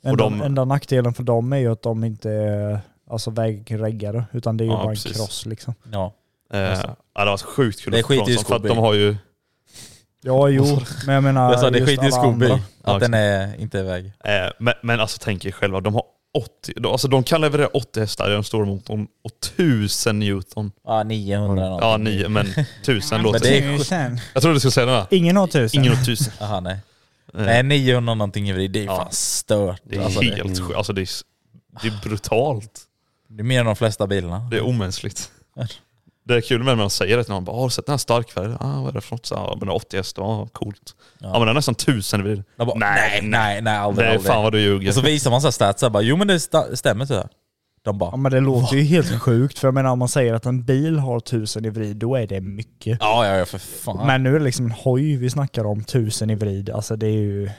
B: och
D: Enda,
B: de-
D: enda nackdelen för dem är ju att de inte är alltså, vägreggare, utan det är ju
B: Ja,
D: bara en
B: precis.
D: cross liksom.
C: Ja.
B: Eh,
C: Just
B: ja, det var sjukt kul
C: Det
B: att få
C: skiter ju
B: dem som- för att
C: Scooby.
B: de har ju...
D: Ja, jo, men jag menar
C: Jag sa det
D: just
C: skiter i
D: alla
C: Scooby,
D: andra.
C: att
B: Ja,
C: den är inte iväg.
B: Eh, men, men alltså tänk er själva, de har 80, de, alltså de kan leverera 80 hästar i den stora motorn och 1000 Newton.
C: Ja, 900 eller
B: Mm. Ja,
C: någonting.
B: nio, men 1000 låter...
C: det är-
B: Jag trodde du skulle säga det där.
D: Ingen har tusen.
B: Ingen åt 1000.
C: Aha, nej.
B: Eh,
C: nej, 900 någonting i det är
B: Ja.
C: fan stört.
B: det är
C: alltså, det,
B: helt sjukt. Alltså det är, s- det är brutalt.
C: det är mer än de flesta bilarna.
B: Det är omänskligt. Det är kul med när man säger det till någon. Bara, "Ah, har du sett den här starkfärgen? Ah, vad är det för något? Så, ah, men den har 80 hästar, ah, coolt. Ja. men den är nästan 1000 vid.
C: De bara, nej,
B: Nej,
C: nej, nej, aldrig,
B: Det är
C: aldrig. Alltså,
B: fan vad du ljuger.
C: Och så visar man så här stats, så här, bara, jo men det sta- stämmer tyvärr. De
D: Ja
C: bara,
D: men det låter ju helt sjukt, för jag menar om man säger att en bil har tusen i vrid, då är det mycket.
C: ja ja ja för fan.
D: Men nu är det liksom en hoj vi snackar om, tusen i vrid. Alltså det är ju...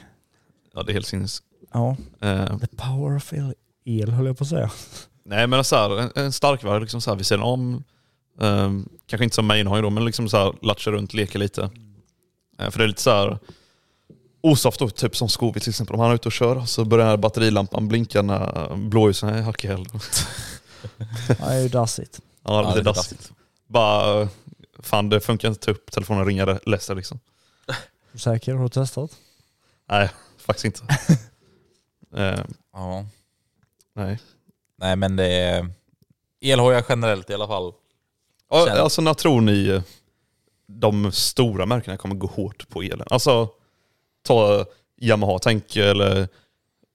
B: Ja, det är helt sinnes.
D: Ja,
B: Eh,
D: the power of el, el höll jag på att säga.
B: nej men så här, en, en starkvärd liksom så här vid sidan om. Ehm, kanske inte som mainhoj då, men liksom så här latcha runt, leka lite. Eh, för det är lite så här osoft då, typ som Scooby till exempel. Om han är ute och kör så börjar batterilampan blinka när eh, blåljusen är hack i häl.
D: Ja, det är ju dassigt.
B: Ja,
C: Ja,
B: lite
C: det är
B: dassigt. Bara, fan det funkar inte att ta upp telefonen och ringa Leicester liksom.
D: Är du Säker? Har du testat?
B: Nej, faktiskt inte. Eh,
C: Ja.
B: nej.
C: Nej men det är elhojar generellt i alla fall.
B: Ja,
C: Känner-
B: Alltså när tror ni eh, de stora märkena kommer gå hårt på elen? Alltså, ta Yamaha-tänk eller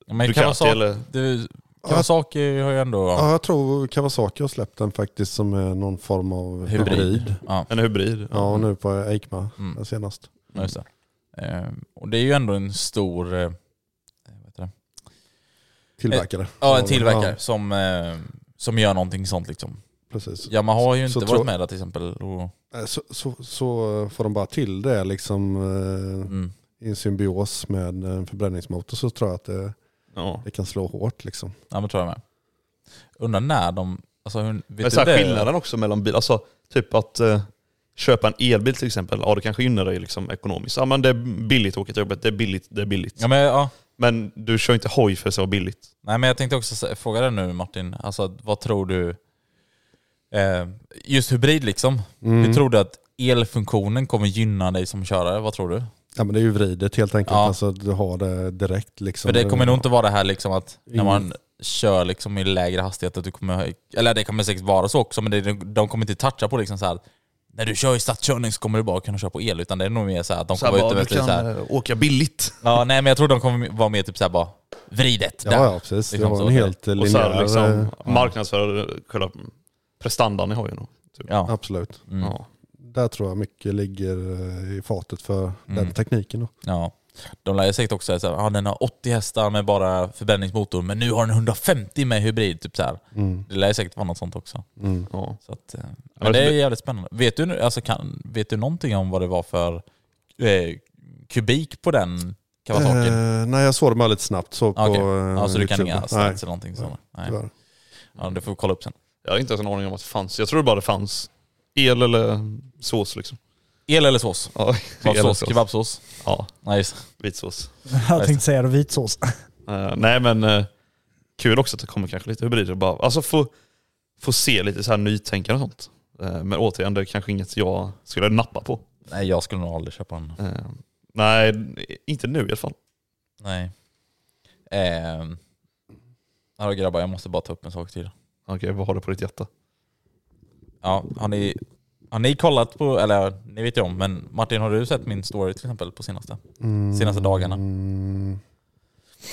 C: Men
B: Ducati
C: Kawasaki,
B: eller...
C: du, Kawasaki har ju ändå...
E: Ja, jag tror Kawasaki har släppt den faktiskt som är någon form av hybrid.
C: Ja,
B: En hybrid.
E: Ja, nu på Eikma
C: Mm.
E: den senast.
C: just det. Ehm, och det är ju ändå en stor... eh, Vad heter det? Eh,
E: Tillverkare.
C: Ja, en tillverkare
E: Ja,
C: som, eh, som gör någonting sånt liksom.
E: precis.
C: Yamaha har ju inte
E: Så
C: varit
E: tror-
C: med där till exempel. Och,
E: Eh, Så, så, så får de bara till det liksom eh,
C: mm.
E: i en symbios med en förbränningsmotor så tror jag att det,
B: Ja.
E: det kan slå hårt liksom.
C: Ja men tror jag med. Undrar när de... Alltså, hur, vet
B: Men
C: du
B: så här,
C: det?
B: skillnaden också mellan bilar, alltså typ att eh, köpa en elbil till exempel, ja det kanske gynnar dig liksom, ekonomiskt. Ja men det är billigt att åka till jobbet, det är billigt, det är billigt.
C: Ja, men, ja.
B: Men du kör inte hoj för att det var billigt.
C: Nej men jag tänkte också sä- fråga dig nu Martin, alltså vad tror du... Eh, just hybrid liksom.
E: Mm.
C: Hur tror du att elfunktionen kommer gynna dig som körare? Vad tror du?
E: Ja men det är ju vridet helt enkelt.
C: Ja.
E: Alltså du har det direkt liksom.
C: För det kommer nog inte vara det här liksom att när
E: Ingen-
C: man kör liksom i lägre hastighet att du kommer... Eller det kommer säkert vara så också men det, de kommer inte toucha på liksom så här. När du kör i stadskörning så kommer du bara kunna köra på el utan det är nog mer så här att de
B: Så här,
C: kommer vara ute
B: bara, du
C: vet du, typ så
B: kan
C: här.
B: eh, åka billigt.
C: Ja nej men jag tror de kommer vara mer typ så här bara vridet. där.
E: Ja, ja precis. Det
C: Liksom
E: var
C: så.
E: en helt
B: Och så
E: linjär...
B: här, liksom,
E: eh,
B: marknadsföra själva prestandan i hojen. då, Typ.
C: Ja.
E: Absolut.
C: Mm.
B: Ja.
E: Där tror jag mycket ligger eh, i fatet för
C: Mm.
E: den tekniken. Då.
C: Ja. De lär ju säkert också säga att ah, den har 80 hästar med bara förbränningsmotor, men nu har den 150 med hybrid. Typ så här.
E: Mm.
C: Det lär ju säkert vara något sånt också.
B: Ja.
C: Så att, eh,
B: det
C: men det är
B: skulle-
C: jävligt spännande. Vet du, nu- alltså, kan, vet du någonting om vad det var för eh, kubik på den Kawasaki?
E: Eh, nej, jag såg dem här lite snabbt. Så
C: Ah,
E: på,
C: okej.
E: eh,
C: ja, så du kan
E: YouTube.
C: inga stats
E: Nej,
C: eller någonting sånt? Nej.
E: tyvärr.
C: Ja, det får vi kolla upp sen.
B: Jag har inte ens en aning om att det fanns. Jag tror bara det fanns el eller sås liksom.
C: El eller sås?
B: Ja,
C: Vad
B: el eller
C: sås? Kebabsås?
B: Ja,
C: Nej, just det.
B: vitsås.
D: Jag tänkte säga det, vit sås.
B: Eh, nej men eh, kul också att det kommer kanske lite hybrider. Bara, alltså få, få se lite så här nytänkande och sånt. Eh, men återigen, det är kanske inget jag skulle nappa på.
C: Nej, jag skulle nog aldrig köpa en.
B: Eh, nej, inte nu i alla fall.
C: Nej. Eh, hallå grabbar, jag måste bara ta upp en sak till.
B: Okej, vad har du på ditt hjärta?
C: Ja, har ni, har ni kollat på, eller ni vet ju om, men Martin har du sett min story till exempel på senaste? Senaste dagarna.
E: Mm.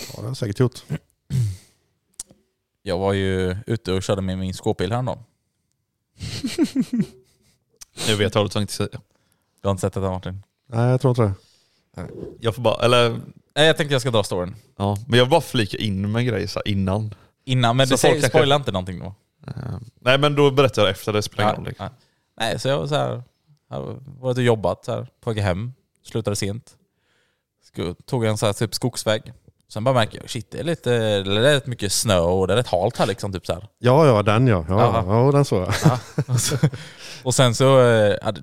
E: Ja, det har jag säkert gjort.
C: Jag var ju ute och körde med min skåpbil häromdagen.
B: Jag vet vad du tänkte säga.
C: Du har inte sett detta Martin?
E: Nej, jag tror inte det.
B: Jag får bara, eller
C: Nej, jag tänkte jag ska dra storyn.
B: Ja, men jag vill bara flika in med grejer så här innan.
C: Innan, men
B: Så
C: du säger,
B: folk kanske-
C: spoila inte någonting då.
B: Eh, nej men då berättar jag efter, det spelar ingen roll.
C: Nej,
B: liksom.
C: nej. Nej, så jag var så här, jag har varit och jobbat så här, på väg hem, slutade sent. Sku- Tog en så här, typ skogsväg. Sen bara märker jag, shit det är lite, eller det är rätt mycket snö och det är rätt halt här liksom. Typ så här.
E: Ja, ja, den ja. Ja,
C: Jaha.
E: ja den såg jag.
C: Och sen så eh, hade-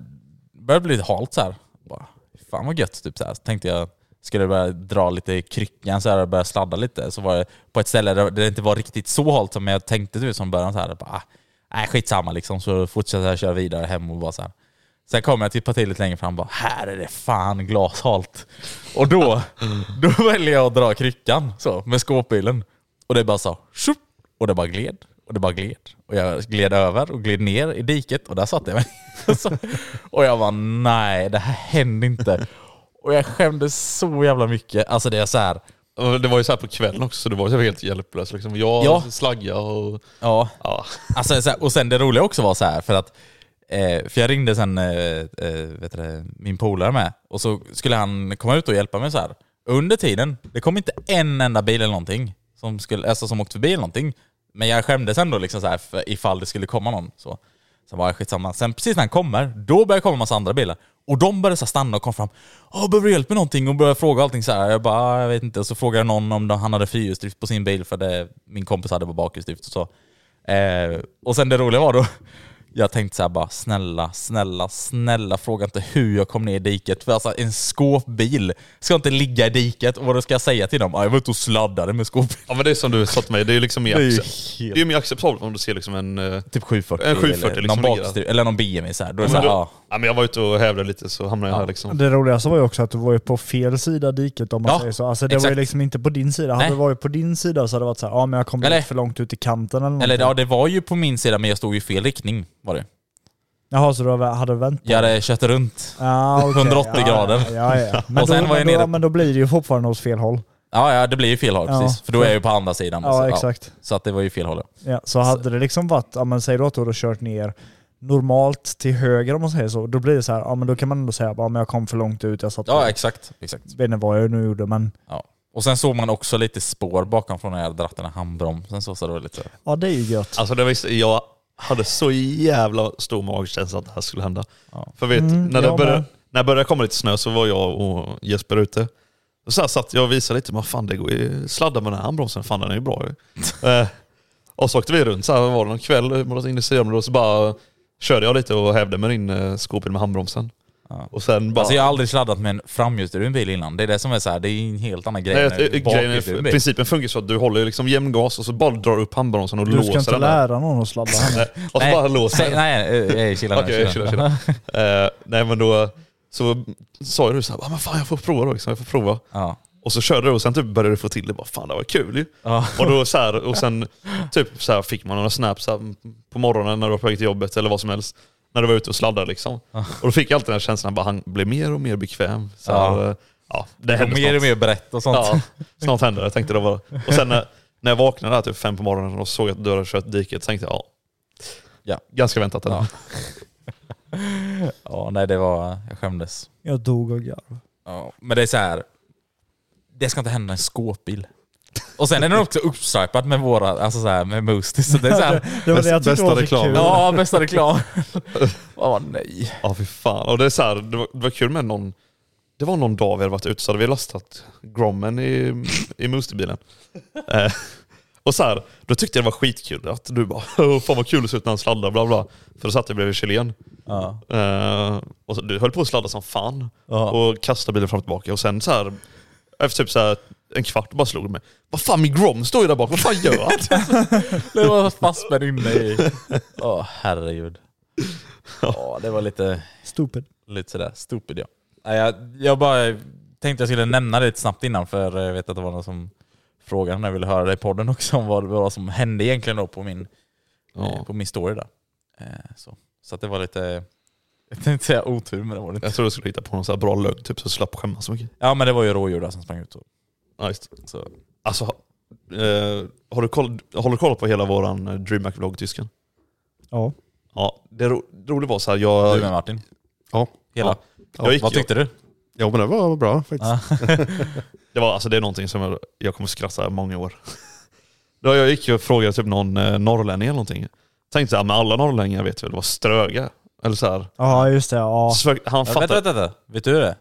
C: började det bli lite halt så här. Bara, fan vad gött typ så här. Så tänkte jag, skulle jag börja dra lite i kryckan så här och börja sladda lite. Så var jag på ett ställe där det inte var riktigt så halt som jag tänkte du vet, som början så här. Bara, ah, nej skitsamma liksom. Så fortsatte jag köra vidare hem och bara så här. Sen kom jag till ett parti lite längre fram och bara, här är det fan glashalt. Och då, då väljer jag att dra kryckan så, med skåpbilen. Och det bara så, tjup, och det bara gled, och det bara gled. Och jag gled över och gled ner i diket och där satte jag mig. så, och jag var nej det här hände inte. Och jag skämdes så jävla mycket. Alltså det är så här,
B: Och Det var ju så här på kvällen också, så det var ju helt hjälplös. Liksom. Jag
C: Ja.
B: slaggade och...
C: ja.
B: Ja.
C: Alltså, så här, och sen det roliga också var så här, för att eh, för jag ringde sen eh, eh, vet du, det, min polare med och så skulle han komma ut och hjälpa mig så här. Under tiden, det kom inte en enda bil eller någonting som, skulle, alltså, som åkte förbi eller någonting. Men jag skämdes ändå liksom så här, för ifall det skulle komma någon. Så, så var jag skitsamma. Sen precis när han kommer, då börjar det komma en massa andra bilar. Och de började så här stanna och kom fram. Åh, behöver du hjälp med någonting? Och började fråga allting så här. Jag bara, "Ah, jag vet inte. Och så frågade jag någon om de- han hade fyrhjulsdrift på sin bil för det, min kompis hade på bakhjulsdrift och så. Eh, och sen det roliga var då, jag tänkte så här bara snälla, snälla, snälla fråga inte hur jag kom ner i diket. För alltså en skåpbil ska inte ligga i diket. Och vad ska jag säga till dem? Ah, jag var ute och sladdade med skåpbil.
B: ja men det är som du sa till mig, det är ju liksom mer,
C: Det är ju
B: accep-
C: helt-
B: det är ju mer acceptabelt om du ser liksom en... eh,
C: Typ 740.
B: En 740
C: eller,
B: liksom
C: någon
B: ligger
C: bakstyr, eller någon BMW så här. Då är det så
B: men
C: här,
B: då,
C: ah,
B: ja. men jag var ute och hävde lite så hamnade jag här liksom.
D: Det roligaste var ju också att du var ju på fel sida diket om man
C: Ja,
D: säger så. Alltså det var
C: exakt.
D: ju liksom inte på din sida.
C: Nej.
D: Hade det varit på din sida så hade det varit så här, ja men jag kom
C: Eller-
D: lite för långt ut i kanten eller,
C: Eller
D: någonting.
C: ja, det var ju på min sida men jag stod ju i fel riktning var det.
D: Jaha, så du hade vänt på
C: Jag hade kört runt.
D: Ja, okej.
C: 180
D: ja,
C: grader.
D: Ja, ja. Men,
C: Och sen
D: då,
C: var jag
D: men, då,
C: nere-
D: men då blir det ju fortfarande åt fel håll.
C: Ja, ja det blir ju fel håll
D: Ja.
C: precis. För då är jag ju på andra sidan.
D: Ja,
C: så,
D: exakt.
C: så att det var ju fel håll. ja.
D: Ja, så hade det liksom varit, ja, men säg då att du hade kört ner normalt till höger om man säger så, då blir det så här, ja men då kan man ändå säga ja, men jag kom för långt ut, jag satt
C: Ja, exakt. exakt.
D: vet inte vad jag nu gjorde men
C: Ja. Och sen såg man också lite spår bakom från när jag hade dratt den här handbromsen. Så, så det var lite... så-
D: ja det är ju gött.
B: Alltså det visste, jag hade så jävla stor magkänsla att det här skulle hända. För vet, när, det
D: Mm, jag
B: började,
D: med.
B: när det började komma lite snö så var jag och Jesper ute. Och så här satt jag och visade lite, men fan det går ju, sladda med den här handbromsen, fan den är ju bra ju. eh, och så åkte vi runt, så här var det någon kväll eh, inne i Sydområdet så bara körde jag lite och hävde med in eh, skopen med handbromsen. Och sen bara...
C: Alltså jag har aldrig sladdat med en framhjulsdriven bil innan. Det är det som är så här, det är en helt annan grej.
B: Nej,
C: när
B: att, eh,
C: det är bakhjulsdriven
B: grejen är,
C: bil.
B: principen funkar så att du håller liksom jämn gas och så bara drar upp handbromsen och
D: Du ska
B: låser
D: inte
B: den där. Eh,
D: lära någon att sladda henne.
B: Och så
C: Nej.
B: bara låser den.
C: Nej, nej, nej, eh, chilla nu.
B: Okej,
C: chilla
B: chilla,
C: nu.
B: chilla. Eh, nej men då så sa ju du såhär, ah, men fan jag får prova då, liksom, jag får prova.
C: Ja.
B: Och så körde du och sen typ började du få till det, bara fan det var kul ju.
C: Ja.
B: Och, då, så här, och sen typ så här, fick man några snaps så här, på morgonen när du var på väg till jobbet eller vad som helst. När du var ute och sladdade liksom. Och då fick jag alltid den här känslan, bara, han blev mer och mer bekväm. Så här,
C: Ja.
B: eh, ja, det
C: Och
B: hände
C: mer och
B: snart.
C: mer brett och sånt.
B: Ja, snart hände det tänkte jag då bara. Och sen när, när jag vaknade där typ fem på morgonen och såg att du hade kört diket tänkte jag, ja.
C: Ja.
B: Ganska väntat ändå.
C: Ja. Ja, nej det var, jag skämdes.
D: Jag dog av garv.
C: Ja, men det är så här. Det ska inte hända en skåpbil. Och sen är den också uppstripad med våra, alltså så här, med Moosties. Så det är så här,
D: Det var
E: Bäst-
D: det jag tyckte
E: bästa
D: var så
E: reklam.
D: kul.
C: ja bästa reklam. Åh nej.
B: Ja fy fan. Och det, är så här, det, var, det var kul med någon, det var någon dag vi hade varit ute så hade vi lastat Grommen i, i Moosterbilen. eh, och så här, då tyckte jag det var skitkul att du bara "Åh, fan vad kul det ser ut när han sladdar bla bla. För då satt jag bredvid Chilen.
C: Ja.
B: Eh, och så, du höll på att sladda som fan
C: Ja.
B: och kastade bilen fram och tillbaka. Och sen så här, efter typ så här en kvart bara slog det mig. Vad fan min Grom står ju där bak, vad fan gör han?
C: Det var fastspänd inne i. Åh herregud. Ja, det var lite,
D: Stupid.
C: lite sådär stupid ja. Nej, jag, jag bara tänkte jag skulle nämna det lite snabbt innan för jag vet att det var någon som frågade när jag ville höra det i podden också om vad, vad som hände egentligen då på min, eh,
B: ja.
C: på min story där. Eh, Så, så att det var lite, jag tänkte säga otur men det var det inte.
B: Jag tror du skulle hitta på någon så här bra lögn typ så jag slapp skämmas så mycket.
C: Ja men det var ju rådjur där som sprang ut. Och,
B: Ja, just. det.
C: så.
B: Alltså, eh, har, du koll, har du koll på hela våran eh, DreamHack-vlogg, tysken?
D: Ja.
B: Ja, det ro, roliga var så här,
C: Du
B: jag...
C: med Martin?
E: Ja.
C: Hela?
B: jag gick,
C: Vad tyckte du?
E: ja, men det var bra faktiskt.
B: Det, var, alltså, det är någonting som jag, jag kommer skratta många år. Då jag gick och frågade typ någon eh, norrlänning eller någonting. Tänkte så här, men alla norrlänningar vet väl vad ströga Eller så här.
D: Ja just det, ja.
B: Så Han
C: Vänta,
B: fattar.
C: vänta, vänta. Vet du det?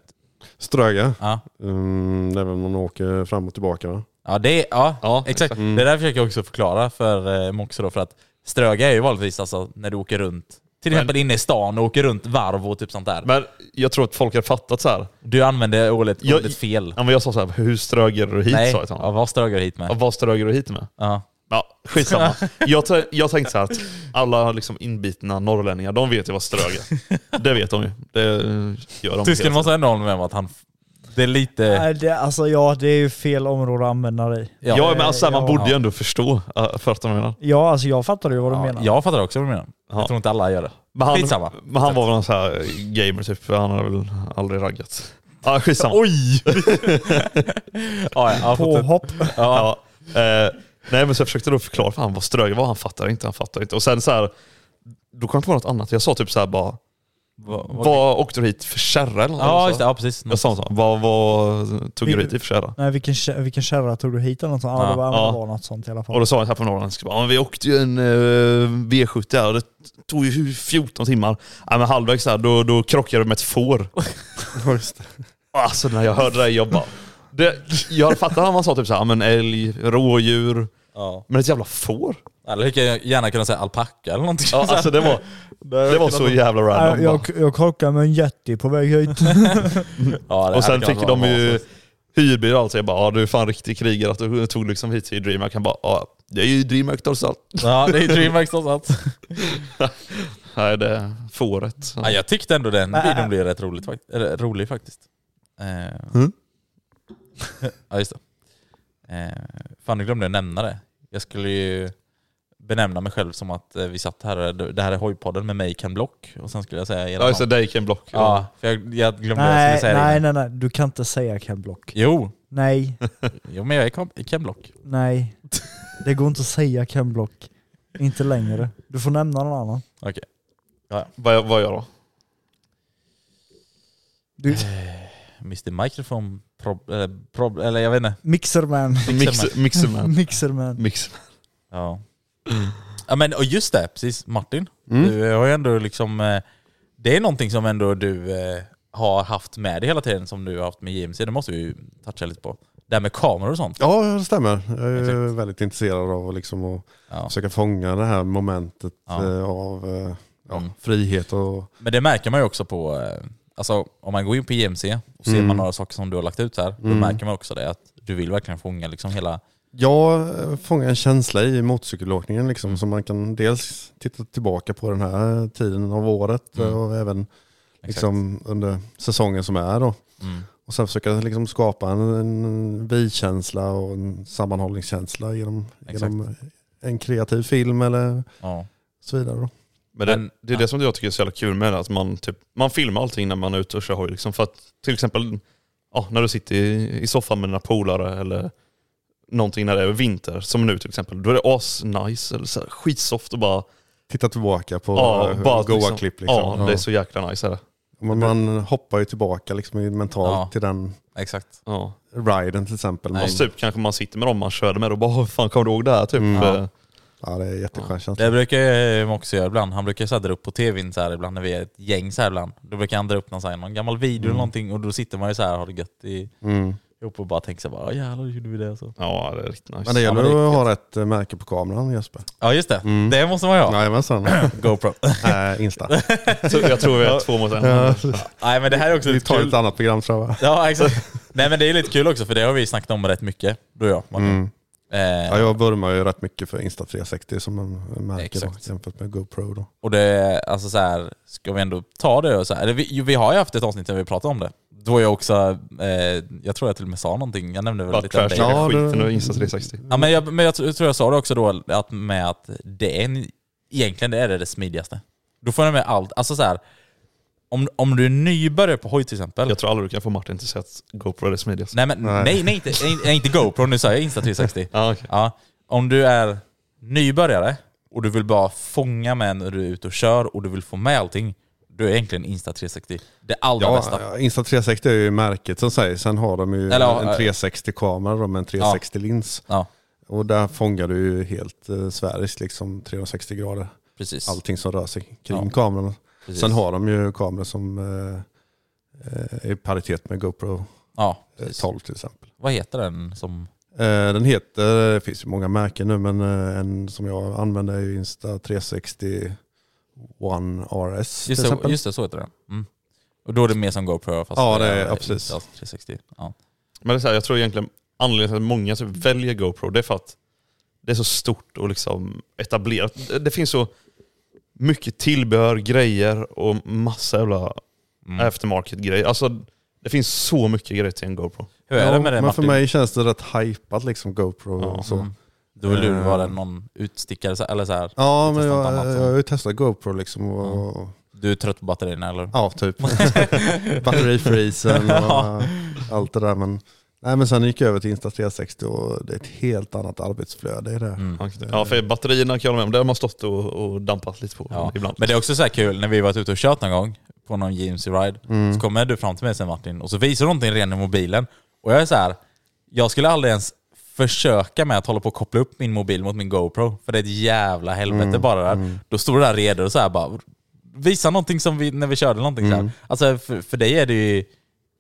E: Ströga.
C: Ja.
E: Mm, det är väl man åker fram och tillbaka va?
C: Ja, det är, ja,
B: Ja,
C: exakt. Det där försöker jag också förklara för eh, Moxie då, för att ströga är ju vanligtvis alltså när du åker runt, till
B: Men-
C: exempel inne i stan och åker runt varv och typ sånt där.
B: Men jag tror att folk har fattat så här.
C: du använder ordet,
B: Jag-
C: ordet fel.
B: Ja, men jag sa så här, hur ströger du hit?
C: Nej,
B: Sa jag till
C: ja,
B: honom.
C: vad strögar du hit med?
B: liksom. Ja, Vad ströger du hit med?
C: Ja.
B: Ja, skitsamma. Jag, t- jag tänkte så här att alla liksom inbitna norrlänningar, de vet ju vad strög är. Det vet de ju. Det eh, gör de
C: Tysken
B: hela
C: måste ändå hålla med om att han... Det är lite...
D: Nej, det, alltså ja, det är ju fel område att använda dig.
B: tiden. Ja, men alltså, man
D: ja.
B: borde ju ändå förstå. eh, För att de menar.
D: Ja alltså jag fattar ju vad du
C: Ja,
D: menar.
C: jag fattar också vad du menar.
B: Ja.
C: Jag tror inte alla gör det.
B: Men han,
C: Skitsamma.
B: Men han var väl någon så här gamer typ, för han har väl aldrig raggat. Ja, skitsamma.
C: Oj! ja, ja, jag har fått ett-
D: Påhopp.
C: ja.
B: Ja. Eh, nej men så jag försökte då förklara för han vad strög var, han fattar inte, han fattar inte. Och sen så här, då kom jag på något annat. Jag sa typ så här bara,
C: Vad- vad-
B: vad åkte du hit för kärra eller
C: Ja,
B: något
C: just det. Ja, precis.
B: Jag sa så, här, vad, vad tog du hit i för kärra?
D: Nej vilken, kä- vilken kärra tog du hit eller något sånt? Ja,
C: Ja,
D: det var, ja.
B: ja.
D: det var något sånt i alla fall.
B: Och då sa han så här på Norrland, ja, men vi åkte ju en eh, V70 där och det tog ju 14 timmar. Ja, men halvvägs där, då, då krockade jag med ett får. Alltså när jag hörde det, jag bara... Det, jag fattar när man sa typ så här, ja, men älg, rådjur,
C: Ja.
B: men ett jävla får?
C: Eller hur kan jag gärna kunna säga alpacka eller någonting.
B: Ja, alltså det var, det var så jävla
D: Nej,
B: random.
D: jag,
B: bara.
D: jag krockade med en jätte på väg hit.
C: Ja, det
B: Och sen
C: hade kunnat
B: fick
C: vara
B: de ju
C: vad som-
B: hyrbil och allt, så jag bara, ja, du är fan riktig krigare att du tog liksom hit till DreamHack. Han bara, ja, det är ju DreamHack trots allt.
C: Ja, det är ju DreamHack trots allt.
B: Nej, det är fåret.
C: Ja, jag tyckte ändå den videon blev rätt roligt, fakt- eller, rolig faktiskt. Eh.
B: Mm.
C: ja, just det. Eh, fan, jag glömde nämna det. Jag skulle ju benämna mig själv som att eh, vi satt här, det här är hojpodden med mig Ken Block. Och sen skulle jag säga era
B: Ja just det,
C: namn.
B: dig Ken Block.
C: Ja, för jag, jag glömde vad jag
D: Nej,
C: skulle säga.
D: nej,
C: Nej.
D: nej, nej. Du kan inte säga Ken Block.
C: Jo,
D: Nej,
C: jo, men jag är Ken- Ken Block.
D: nej. Det går inte att säga Ken Block. Inte längre. Du får nämna någon annan.
B: Vad, vad gör jag då?
D: Du,
C: Mr Microphone prob, eller, prob, eller jag vet inte.
D: Mixerman.
B: Mix-
D: Mm.
B: Mixerman.
D: Mixerman.
B: Mix.
C: Ja. ja men och just det, precis. Martin.
E: Mm.
C: Du har ju ändå liksom... eh, Det är någonting som ändå du eh, har haft med dig hela tiden som du har haft med JMC. Det måste vi ju toucha lite på. Det här med kameror och sånt.
E: Ja, det stämmer. Jag är
C: Exakt.
E: väldigt intresserad av att liksom att
C: Ja.
E: försöka fånga det här momentet
C: Ja.
E: eh, av eh, ja,
C: Mm.
E: frihet och...
C: Men det märker man ju också på... eh, Alltså om man går in på JMC och ser
E: Mm.
C: man några saker som du har lagt ut här, då
E: Mm.
C: märker man också det att du vill verkligen fånga liksom hela...
E: Jag eh, fångar en känsla i motorcykelåkningen liksom,
C: Mm.
E: som man kan dels titta tillbaka på den här tiden av året
C: Mm.
E: eh, och även
C: Exakt.
E: liksom, under säsongen som är. Då.
C: Mm.
E: Och sen försöka liksom skapa en, en vi-känsla och en sammanhållningskänsla genom,
C: Exakt.
E: genom en kreativ film eller
C: Ja.
E: så vidare. Då.
B: Men det,
C: Men-
B: det är det som jag tycker är så jävla kul med det, att man, typ, man filmar allting när man är ute och kör hoj. Liksom, för att till exempel ja, när du sitter i, i soffan med dina polare eller någonting när det är vinter, som nu till exempel, då är det as-nice eller så här, skitsoft och bara,
E: Titta tillbaka på
B: ja,
E: eh,
B: bara
E: goa
B: liksom-
E: klipp. Liksom.
B: Ja, det är så jäkla nice. Är det.
E: man, man hoppar ju tillbaka liksom i- mentalt
C: Ja.
E: till den
C: Exakt.
B: Ja.
E: riden till exempel. Man,
B: Och så typ kanske man sitter med dem man körde med och bara "Åh, fan kommer du ihåg det här? Typ.
E: Mm.
B: Eh,
C: Ja.
E: ja, det är en jätteskön känsla.
C: Det brukar jag också göra ibland. Han brukar så här dra upp på tvn så här ibland när vi är ett gäng så här ibland. Då brukar han dra upp någon, så här, någon gammal video eller någonting och då sitter man ju så här och har det gött i,
E: Mm.
C: ihop och bara tänker så här, bara, "Ja, jävlar gjorde vi det alltså?" så.
B: ja, det är riktigt nice.
E: Men det
C: Ja,
E: gäller
C: men det är
E: att ha rätt eh, märke på kameran Jesper.
C: Ja just det,
E: Mm.
C: det måste man ju ha.
E: Jajamensan.
C: GoPro.
E: Nej, Insta.
B: Så jag tror vi är två mot en.
E: Ja,
C: Nej men det här är också
E: Vi
C: lite
E: tar
C: kul.
E: ett annat program tror jag. va?
C: Ja exakt. Nej men det är lite kul också för det har vi snackat om rätt mycket, du och jag. Martin.
E: Mm.
C: Eh,
E: Ja, jag vurmar ju rätt mycket för Insta360 som en märke då,
C: Exakt.
E: jämfört med GoPro. Då.
C: Och det, alltså så här, ska vi ändå ta det och så här, eller vi, jo, vi har ju haft ett avsnitt där vi pratade om det. Då jag också, eh, jag tror jag till och med sa någonting, jag nämnde väl
B: Bara
C: lite om
B: trash
C: det. Mm.
E: Ja,
B: skiten
E: det-
B: och Insta360.
C: Ja, men jag, men jag tr- tror jag sa det också då, att med att det är en, egentligen det är det, det smidigaste. Då får du med allt. Alltså så här, om, om du är nybörjare på hoj till exempel.
B: Jag tror aldrig du kan få Martin till att säga att GoPro är det smidigaste.
C: nej, men, nej.
E: Nej.
C: nej, inte, nej, nej, inte GoPro, nu sa jag Insta360.
B: Ja, okej.
C: ja, om du är nybörjare och du vill bara fånga med när du är ute och kör och du vill få med allting, då är egentligen Insta360 det allra
E: Ja,
C: bästa.
E: Insta360 är ju märket som säger. Sen har de ju
C: Eller, ja, ja.
E: en 360-kamera då med en 360-lins.
C: Ja,
E: Och där fångar du ju helt eh, Sveriges liksom 360 grader.
C: precis.
E: Allting som rör sig kring
C: Ja.
E: kameran.
C: precis.
E: Sen har de ju kameror som eh, eh, är i paritet med GoPro
C: ja,
E: eh,
C: precis.
E: 12 till exempel.
C: Vad heter den som...
E: Eh, den heter, det finns ju många märken nu, men eh, en som jag använder är ju Insta360 One RS
C: Just
E: till
C: det,
E: exempel.
C: just det, så heter den. Mm. Och då är det mer som GoPro fast
E: Ja, det är- ja,
C: inte
E: precis.
C: alls 360. Ja.
B: Men det är så här, jag tror egentligen anledningen till att många typ väljer GoPro, det är för att det är så stort och liksom etablerat. Det- Det finns så mycket tillbehör, grejer och massa jävla
C: Mm.
B: aftermarket-grejer. Alltså, det finns så mycket grejer till en GoPro.
C: Hur är
E: Ja,
C: det med det
E: men för
C: Martin?
E: mig känns det rätt hypat liksom GoPro
B: Ja.
E: och så.
C: Mm. Då vill du
E: Eh.
C: vara någon utstickare så- eller så här.
E: Ja, men
C: testat
E: jag,
C: annat sen.
E: jag har ju testat GoPro liksom. Och,
C: Du är trött på batterierna eller?
E: Ja, typ. Batterifreezen och
C: Ja.
E: allt det där. Men, nej, men sen gick jag över till Insta360 och det är ett helt annat arbetsflöde i det.
C: Mm.
B: Ja, för batterierna kan jag hålla med om. Det har man stått och, och dampat lite på
C: Ja.
B: ibland.
C: Men det är också så här kul när vi varit ute och kört någon gång på någon GMC ride
E: Mm.
C: så kommer du fram till mig sen Martin och så visar du någonting redan i mobilen och jag är så här. jag skulle aldrig ens försöka med att hålla på och koppla upp min mobil mot min GoPro för det är ett jävla helvete
E: Mm.
C: bara där. Då står du där redo och så här bara visa någonting som vi, när vi körde någonting
E: Mm.
C: så här. Alltså för, för dig är det ju,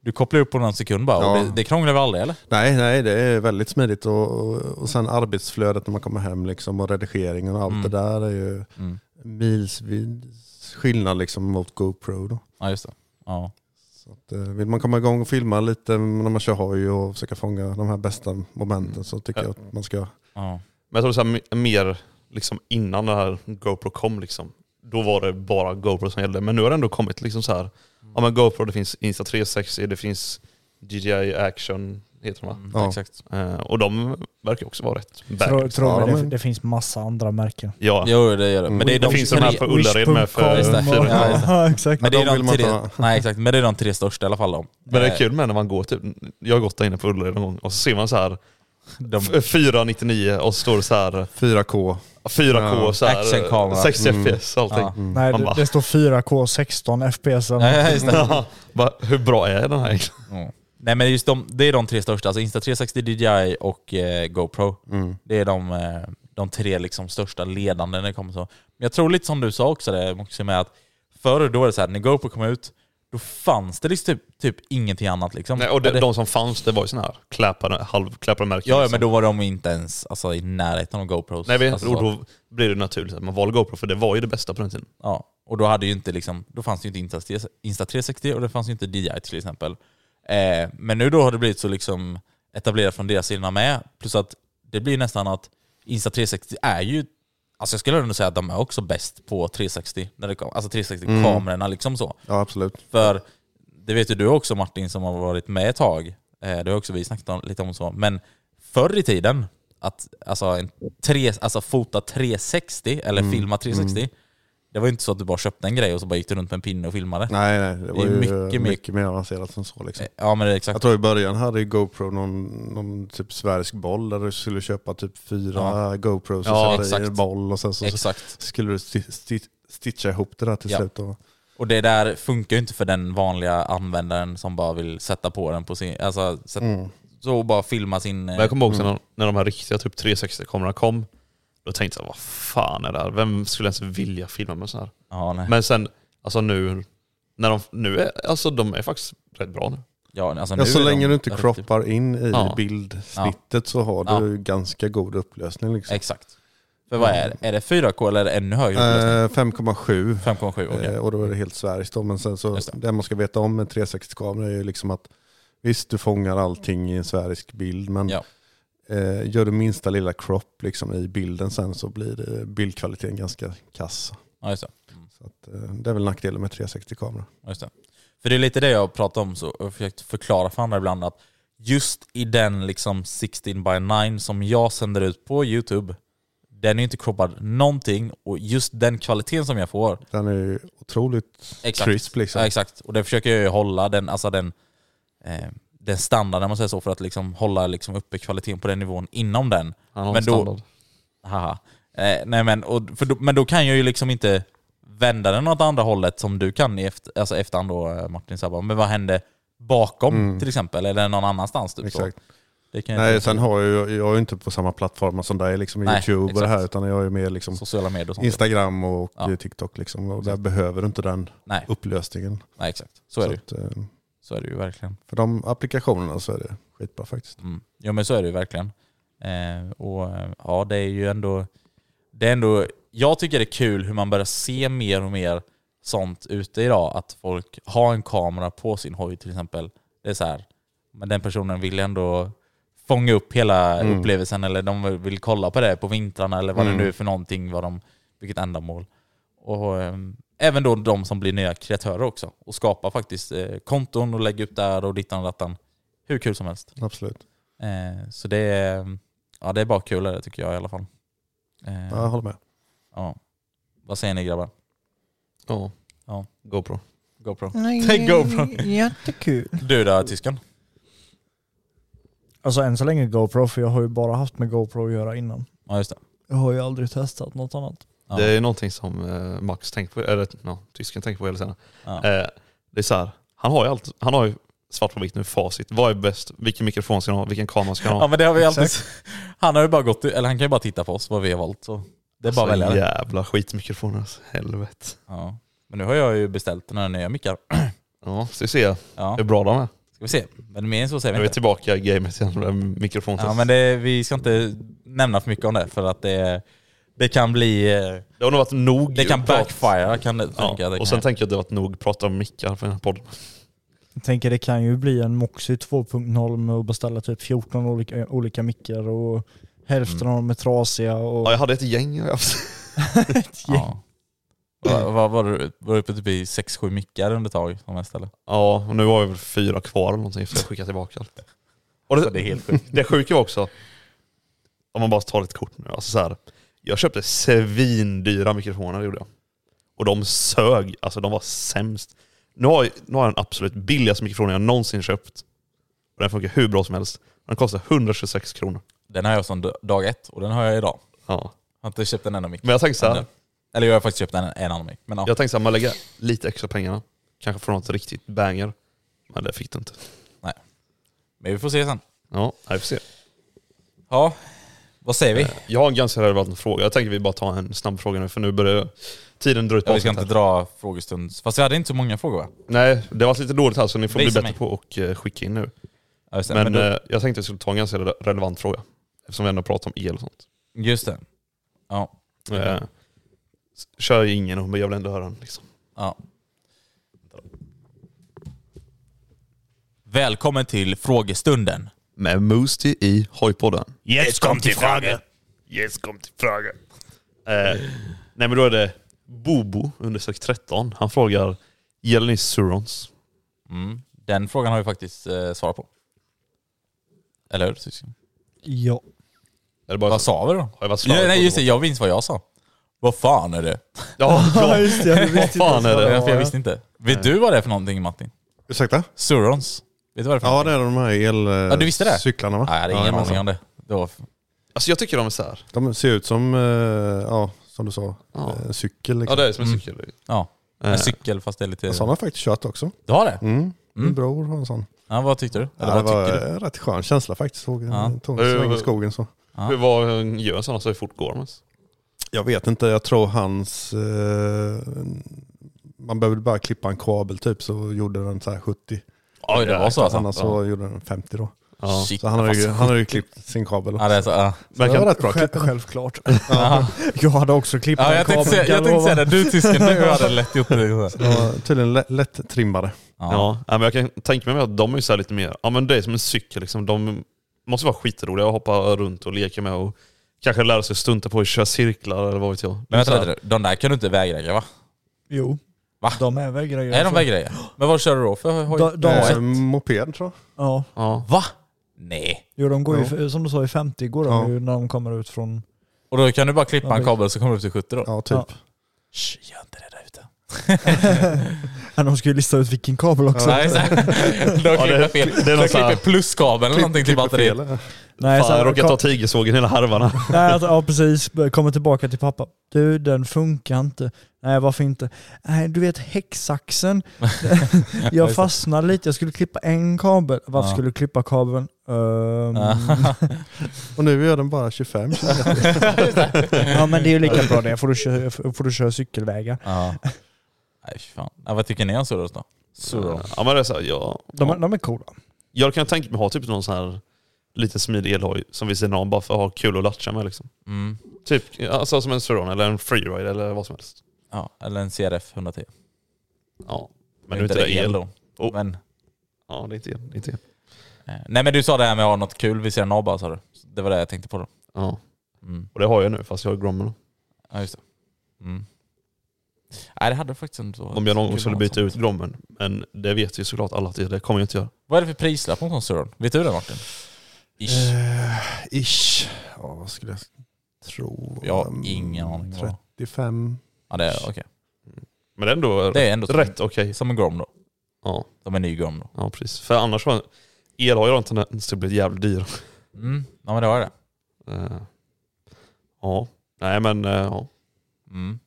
C: du kopplar upp på någon sekund bara och
E: Ja.
C: det, det krånglar väl aldrig eller?
E: Nej, nej, det är väldigt smidigt. Och, och, och sen arbetsflödet när man kommer hem liksom, och redigeringen och allt det där är ju
C: Mm.
E: milsvids skillnad liksom, mot GoPro. Då.
C: Ja just det. Ja.
E: Så att, eh, vill man komma igång och filma lite när man kör hoj och försöka fånga de här bästa momenten så tycker jag att man ska...
C: ja.
B: Men jag tror så här, m- mer liksom innan det här GoPro kom, liksom, då var det bara GoPro som gällde. Men nu har det ändå
C: Mm.
B: kommit liksom så här, ja men GoPro, det finns Insta360, det finns DJI Action, heter de va?
E: Ja.
C: Mm, Exakt.
B: Eh, och de verkar också vara rätt
D: Tro,
B: bad.
D: tro
E: Ja,
D: mig, det,
E: men-
D: det finns massa andra märken.
B: Ja,
C: Jo, det gör det.
E: Mm.
C: Men det är
B: det
C: de
B: finns de här för Ullared med för
C: Wish.com och-
B: fyra.
C: Ja, just det.
D: Ja, exakt.
C: Men det är
E: de vill
C: de
E: man
C: tre,
E: inte ha.
C: nej, exakt. Men det är de tre största i alla fall. De.
B: Men det är
C: Eh,
B: kul med när man går typ, jag har gått där inne på Ullared någon gång och så ser man så här
C: De,
B: f- 499 och så står det så här
E: 4K.
B: 4K
E: Ja.
B: och så här
C: Actionkamera. Mm.
B: 60 fps och allting.
C: Ja.
D: Nej,
B: Man
D: det,
B: bara-
D: det står 4K 16 FPS.
C: nej, just det.
B: Ja, bara, hur bra är den här egentligen?
C: Mm. Nej men just de, det är de tre största, alltså Insta360, DJI och eh, GoPro.
B: Mm.
C: Det är de, eh, de tre liksom största ledande när det kommer så. Men jag tror lite som du sa också det Moxie, med att förr då var det så här, när GoPro kom ut, då fanns det liksom typ, typ ingenting annat liksom.
B: Nej, och
C: Ja,
B: de,
C: det-
B: de som fanns, det var ju sådana här kläpade, halvkläpade märken.
C: ja, ja
B: liksom.
C: men då var de inte ens alltså, i närheten av GoPros.
B: Nej, vi,
C: alltså,
B: och
C: så.
B: då blir det naturligt att man valde GoPro, för det var ju det bästa på den tiden.
C: Ja, och då, hade ju inte liksom, då fanns det ju inte Insta- Insta360 och det fanns ju inte DJI till exempel. Eh, men nu då har det blivit så liksom etablerat från deras sida med, plus att det blir nästan att Insta360 är ju, alltså jag skulle ändå säga att de är också bäst på 360, när det kom, alltså 360-kamerorna liksom så.
E: Mm. Ja, absolut.
C: För det vet ju du också Martin som har varit med ett tag, eh, det har också vi snackat om, lite om så, men förr i tiden, att alltså, en tre, alltså fota 360 eller
E: Mm.
C: filma 360, det var ju inte så att du bara köpte en grej och så bara gick du runt med en pinne och filmade.
E: Nej, nej. Det var
C: är
E: ju
C: mycket
E: mycket,
C: mer-
E: mycket mer avancerat än så. Liksom.
C: Eh, Ja men det är
E: Jag
C: exakt.
E: tror i början hade ju GoPro någon, någon typ svensk boll där du skulle köpa typ fyra GoPros och
C: Ja,
E: sätta i en
C: exakt.
E: boll och sen så, så
C: Exakt.
E: skulle du sti- sti- stitcha ihop det där till
C: Ja.
E: slut. Och,
C: Och det där funkar ju inte för den vanliga användaren som bara vill sätta på den på sin, alltså sätt,
E: Mm.
C: så bara filma sin... eh,
B: Men jag kommer ihåg sen när, när de här riktiga typ 360-kamerorna kom, då tänkte jag vad fan är det här? Vem skulle ens vilja filma med en sån här?
C: eh, Ja, nej.
B: Men sen, alltså nu, när de, nu är, alltså de är faktiskt rätt bra nu.
C: ja, alltså,
E: ja,
C: nu
E: så
C: är de
E: länge du inte
C: riktigt-
E: croppar in i
B: Ja.
E: bildsnittet så har
C: Ja.
E: du ganska god upplösning. Liksom.
C: Exakt. För vad är det? Är det 4K eller är det ännu högre upplösning?
E: Eh, 5,7
C: 5,7 okej.
E: Eh, Och då är det helt Sveriges då. Men sen så,
C: Just
E: det. man ska veta om en 360-kamera är ju liksom att visst du fångar allting i en sverisk bild men
C: Ja.
E: eh, gör du minsta lilla crop liksom i bilden sen så blir det bildkvaliteten ganska kass.
C: Ja, just det.
E: Så att, eh, det är väl nackdelen med 360-kamera.
C: Ja, Just det. För det är lite det jag pratar om så, och försökt förklara för andra ibland att just i den liksom 16 by 9 som jag sänder ut på Youtube, den är ju inte croppad någonting och just den kvaliteten som jag får,
E: Den är ju otroligt crisp liksom.
C: Ja, exakt. Och det försöker jag ju hålla, den, alltså den, eh, den standarden om man säger så, för att liksom hålla liksom uppe kvaliteten på den nivån inom den.
B: Han har
C: Men
B: en
C: då-
B: standard.
C: Haha. Eh, nej men, och, för då, men då kan jag ju liksom inte vända den åt andra hållet som du kan i efter, alltså efterhand då eh, Martin. Så här bara, men vad hände bakom till exempel? Eller någon annanstans? Typ,
E: Mm. Exakt.
C: Så. Det kan jag
E: Nej,
C: inte
E: sen har jag, ju- jag är ju inte på samma plattformar som dig, liksom i
C: Nej,
E: YouTube och det här,
C: exakt.
E: utan jag är ju mer liksom
C: Sociala medier och sånt.
E: Instagram och
C: Ja.
E: eh, TikTok. Liksom, och där behöver du inte den
C: Nej.
E: upplösningen.
C: nej exakt, så är, det, ju.
E: Så att, eh,
C: så är det ju verkligen.
E: För de applikationerna så är det skitbra faktiskt.
C: Mm. Jo men så är det ju verkligen. Eh, och eh, ja, det är ju ändå... Det är ändå... Jag tycker det är kul hur man börjar se mer och mer sånt ute idag. Att folk har en kamera på sin hoj till exempel. Det är så här, men den personen vill ändå fånga upp hela upplevelsen eller de vill kolla på det på vintrarna eller vad det nu är för någonting, vad de, vilket ändamål. Och ehm, även då de som blir nya kreatörer också och skapar faktiskt eh, konton och lägger upp där och dittan och dattan. Hur kul som helst.
E: Absolut.
C: Eh, så det är, ja, det är bara kul det tycker jag i alla fall. Eh,
E: Ja, jag håller med.
C: ja. Vad säger ni grabbar?
B: Ja.
C: Ja.
B: GoPro.
C: GoPro?
D: Nej,
C: GoPro.
D: Jättekul.
C: Du där tysken?
D: Alltså än så länge GoPro, för jag har ju bara haft med GoPro att göra innan.
C: Ja just det.
D: Jag har ju aldrig testat något annat.
C: Ja.
B: Det är någonting som eh, Max tänker på, eller no, tysken tänker på hela tiden.
C: Ja.
B: Eh, det är så här, han har ju allt, han har ju svart på vitt nu facit. Vad är bäst? Vilken mikrofon ska han ha? Vilken kamera ska han
C: ja
B: ha?
C: men det har vi alltid... Han har ju bara gått, eller han kan ju bara titta på oss vad vi har valt. Så det är bara att välja
B: Så
C: det.
B: jävla skitmikrofoner alltså. Helvete.
C: Ja. Men nu har jag ju beställt den här nya mickar.
B: Ja, så vi ser
C: Ja.
B: hur bra de är.
C: Ska vi se. Men mer än så säger
B: Nu är
C: vi
B: vi
C: inte.
B: tillbaka i gamet igen med mikrofontest.
C: Ja men det, vi ska inte nämna för mycket om det för att det, det kan bli... eh,
B: Det har nog varit nog
C: Det kan
B: prat.
C: backfire kan det, tänker jag.
B: Ja.
C: Det
B: Och
C: kan
B: sen
C: jag.
B: tänker jag att det har varit nog prat om mickar för den här podden.
D: Jag tänker det kan ju bli en Moxie 2.0 med att beställa typ 14 olika, olika mickar och hälften
E: Mm.
D: av dem är trasiga och
B: Ja, jag hade ett gäng. jag har haft.
D: ett gäng.
C: Ja. Vad vad var du var du uppe typ i 6-7 mickar under ett tag som mest eller?
B: Ja, och nu har jag väl fyra kvar eller någonting för jag skickar tillbaka allt. Och Och
C: Alltså, det är helt sjukt.
B: Det sjuka var också, om man bara tar ett kort nu, alltså så här, jag köpte svindyra mikrofoner gjorde jag. Och de sög, alltså de var sämst. Nu har, jag- nu har jag den absolut billigaste mikrofonen jag någonsin köpt. Och den funkar hur bra som helst. Den kostar 126 kronor.
C: Den har jag som d- dag ett och den har jag idag.
B: Ja.
C: Jag har inte köpt en enda mick.
B: Men jag tänker så här,
C: Ännu. Eller jag har faktiskt köpt en, en annan mick. Men ja.
B: jag tänker så här, man lägger lite extra pengarna, kanske får något riktigt banger. Men det fick det inte.
C: Men vi får se sen.
B: Ja, nej, vi får se.
C: Ja, vad säger vi?
B: Jag har en ganska relevant fråga. Jag tänker vi bara tar en snabb fråga nu för nu börjar tiden dra ut på
C: Ja, vi ska
B: avsnitt
C: inte dra frågestund. Fast vi hade inte så många frågor va?
B: här. Nej, det var lite dåligt här så ni får
C: Visa
B: bli
C: mig.
B: bättre på att eh, skicka in nu.
C: Ja, just det.
B: Men,
C: då-
B: eh, jag tänkte att jag skulle ta en ganska re- relevant fråga. Eftersom vi ändå pratar om el och sånt.
C: just det. Ja.
B: Eh, s- kör ju ingen och men jag vill ändå höra den. Liksom.
C: Ja. Välkommen till frågestunden.
B: Med Moosty i Hojpodden.
C: Yes, kom till fråga!
B: Yes, kom till fråga. Eh, nej men då är det Bobo, undersök 13. Han frågar, gäller ni surons?
C: Mm. Den frågan har vi faktiskt eh, svarat på. Eller hur? syskon?
D: Ja.
B: Är det bara
C: Vad sa vi då?
B: Har jag varit
C: Ja,
B: slarvig på
C: nej just
B: det?
C: det, jag minns vad jag sa. Vad fan är det?
B: Ja, ja.
D: just det, jag visste inte
B: fan
D: ens
B: är
D: vad
B: det? Ja,
C: Det var
D: var.
C: därför jag visste inte. Vet du vad det är för någonting Martin?
E: Ursäkta?
C: Surons. Vet du vad det är för
E: Ja
C: någonting?
E: det är de här
C: Ja, du visste det?
E: elcyklarna va?
C: Nej, jag hade ingen
E: Ja,
C: aning om det. det var...
B: Alltså jag tycker de är så här.
E: De ser ut som, eh, ja som du sa,
B: Ja.
E: eh, cykel.
B: Ja
E: Liksom.
B: det är som en cykel.
C: Ja,
B: Eh,
C: en cykel fast det är lite...
E: Ja, Sådana har jag faktiskt kört också.
C: Du har det?
E: Mm.
C: Mm.
E: Min bror har en sån.
C: Ja, vad tyckte du? Eller
E: Ja, det
C: vad
E: var
C: tycker du?
E: en rätt skön känsla faktiskt. Tog en,
C: Ja.
E: tog en sväng
B: Eh,
E: i skogen så.
C: Ja.
B: Hur var, gör sådana så hur fort går de ens?
E: Jag vet inte, jag tror hans... Eh, man behövde bara klippa en kabel typ så gjorde den så här 70.
C: Oj, det var så alltså?
E: Annars så gjorde den 50 då.
B: Ja.
C: Shit,
E: Så han har ju,
C: fast-
E: han har ju klippt sin kabel.
C: Ja, det är så, ja.
B: Men
E: det
B: kan,
E: var rätt bra
D: Själv,
E: klipp.
D: självklart.
C: Ja.
D: Jag hade också klippt
C: Ja,
D: en
C: jag tänkte
D: kabel,
C: säga,
D: kan
C: jag tänkte
D: lova.
C: säga det. Du tysken, du hade lätt gjort det. Ja.
E: Det var tydligen lätt, lätt trimmade.
C: Ja.
B: ja. ja, men jag kan tänka mig att de är ju så här lite mer, ja men det är som en cykel liksom. De måste vara skitroliga att hoppa runt och leka med och kanske lära sig stunta på och köra cirklar eller vad vet jag.
C: Men
B: Så
C: vänta
B: här,
C: lite, de där kan du inte vägreja va?
D: Jo.
C: Va?
D: De är väl grejer.
C: Nej,
B: Alltså-
C: de vägrejar. Men vad kör du då för hoj?
D: De- de-
C: Ja,
E: Eh,
C: ett-
E: moped tror jag.
D: Ja.
B: Ja.
C: Va? Nej.
D: Jo, de går
E: Ja.
D: ju, som du sa, i 50 går de
E: Ja.
D: ju när de kommer ut från...
C: Och då kan du bara klippa
D: Ja,
C: en
D: men-
C: kabel så kommer du upp till 70 då?
E: Ja, typ.
C: Shh, gör inte det där ute.
D: Men de ska ju lista ut vilken kabel också.
C: Nej, så här. De
B: Ja,
C: klipper
B: det-
C: fel.
B: det är
C: De
B: någon så här-
C: klipper pluskabeln eller någonting till
E: Klipper
C: batteriet.
E: fel.
D: Nej, så
B: Fan, jag råkade
D: ka-
B: ta tigersågen hela harvarna.
D: Nej, alltså, ja precis. Kommer tillbaka till pappa. Du, den funkar inte. Nej, varför inte? Nej, du vet häcksaxen.
C: Just det.
D: jag fastnade lite. Jag skulle klippa en kabel. Varför
C: Ja.
D: skulle du klippa kabeln? Ehm,
E: Och nu gör den bara 25.
D: ja, men det är ju lika bra det. Får du köra, får du köra cykelvägar.
C: Ja. Nej, fy fan. Ja, vad tycker ni om Surros då? Surros.
B: Ja men det är så här, ja.
D: De, är- de är coola.
B: Jag kan tänka mig ha typ någon sån här lite smidig elhoj som vi sidan om bara för att ha kul och latcha med liksom.
C: Mm.
B: Typ alltså, som en suron eller en freeride eller vad som helst.
C: Ja, eller en CRF 110.
B: Ja. Men nu är inte det el.
C: då.
B: Oh.
C: Men,
B: Ja, det är inte el. Det är inte el.
C: eh, nej men du sa det här med att ha något kul vid sidan av bara sa du. Så Det var det jag tänkte på då.
B: Ja.
C: Mm.
B: Och det har jag nu fast jag har Grommel.
C: Ja just det. Mm. Nej det hade du faktiskt inte varit
B: Om jag någon gång
C: kul
B: skulle
C: med
B: byta
C: något
B: ut
C: sånt.
B: Grommen. Men det vet ju såklart alla att det kommer jag inte göra.
C: Vad är det för prislapp på en sån Suron? Vet du det Martin? Ish.
E: Eh, ish. Ja, vad skulle jag tro?
C: Jag har
E: Mm,
C: ingen aning vad-
D: Oh,
E: 35.
C: Ja det är okej.
B: Men det är ändå,
C: Det är ändå
B: rätt okej.
C: som en Grom då.
B: Ja,
C: Som en ny Grom då.
B: ja, precis. För annars var el har ju en tendens till att bli jävligt dyr.
C: Mm. Ja men det var det.
B: Eh, Ja. Nej men eh, ja.
C: Mm.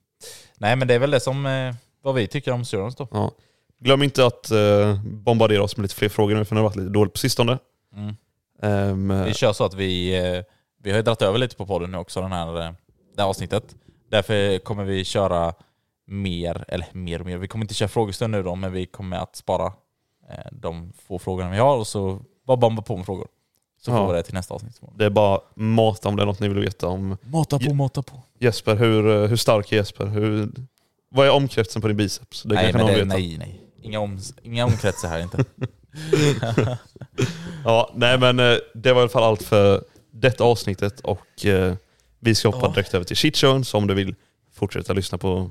C: Nej men det är väl det som eh, vad vi tycker om Surons då.
B: ja. Glöm inte att eh, bombardera oss med lite fler frågor nu för det har varit lite dåligt på sistone.
C: Mm.
B: Ehm,
C: Vi kör så att vi, eh, vi har ju dragit över lite på podden nu också den här, eh, det här avsnittet. Därför kommer vi köra mer, eller mer och mer, vi kommer inte köra frågestund nu då, men vi kommer att spara eh, de få frågorna vi har och så bara bomba på med frågor. Så
B: Ja.
C: får vi det till nästa avsnitt.
B: det är bara mata om det är något ni vill veta om
C: Mata
B: på,
C: mata på.
B: Jesper. Hur, eh, hur stark är Jesper? Hur, vad är omkretsen på din biceps? Det
C: nej,
B: kanske
C: men
B: någon
C: det,
B: vet.
C: nej, nej. Inga, om, inga omkretsar här inte.
B: Ja, nej men eh, det var i alla fall allt för detta avsnittet och eh, vi ska hoppa
C: Ja.
B: direkt över till shitshowen så om du vill fortsätta lyssna på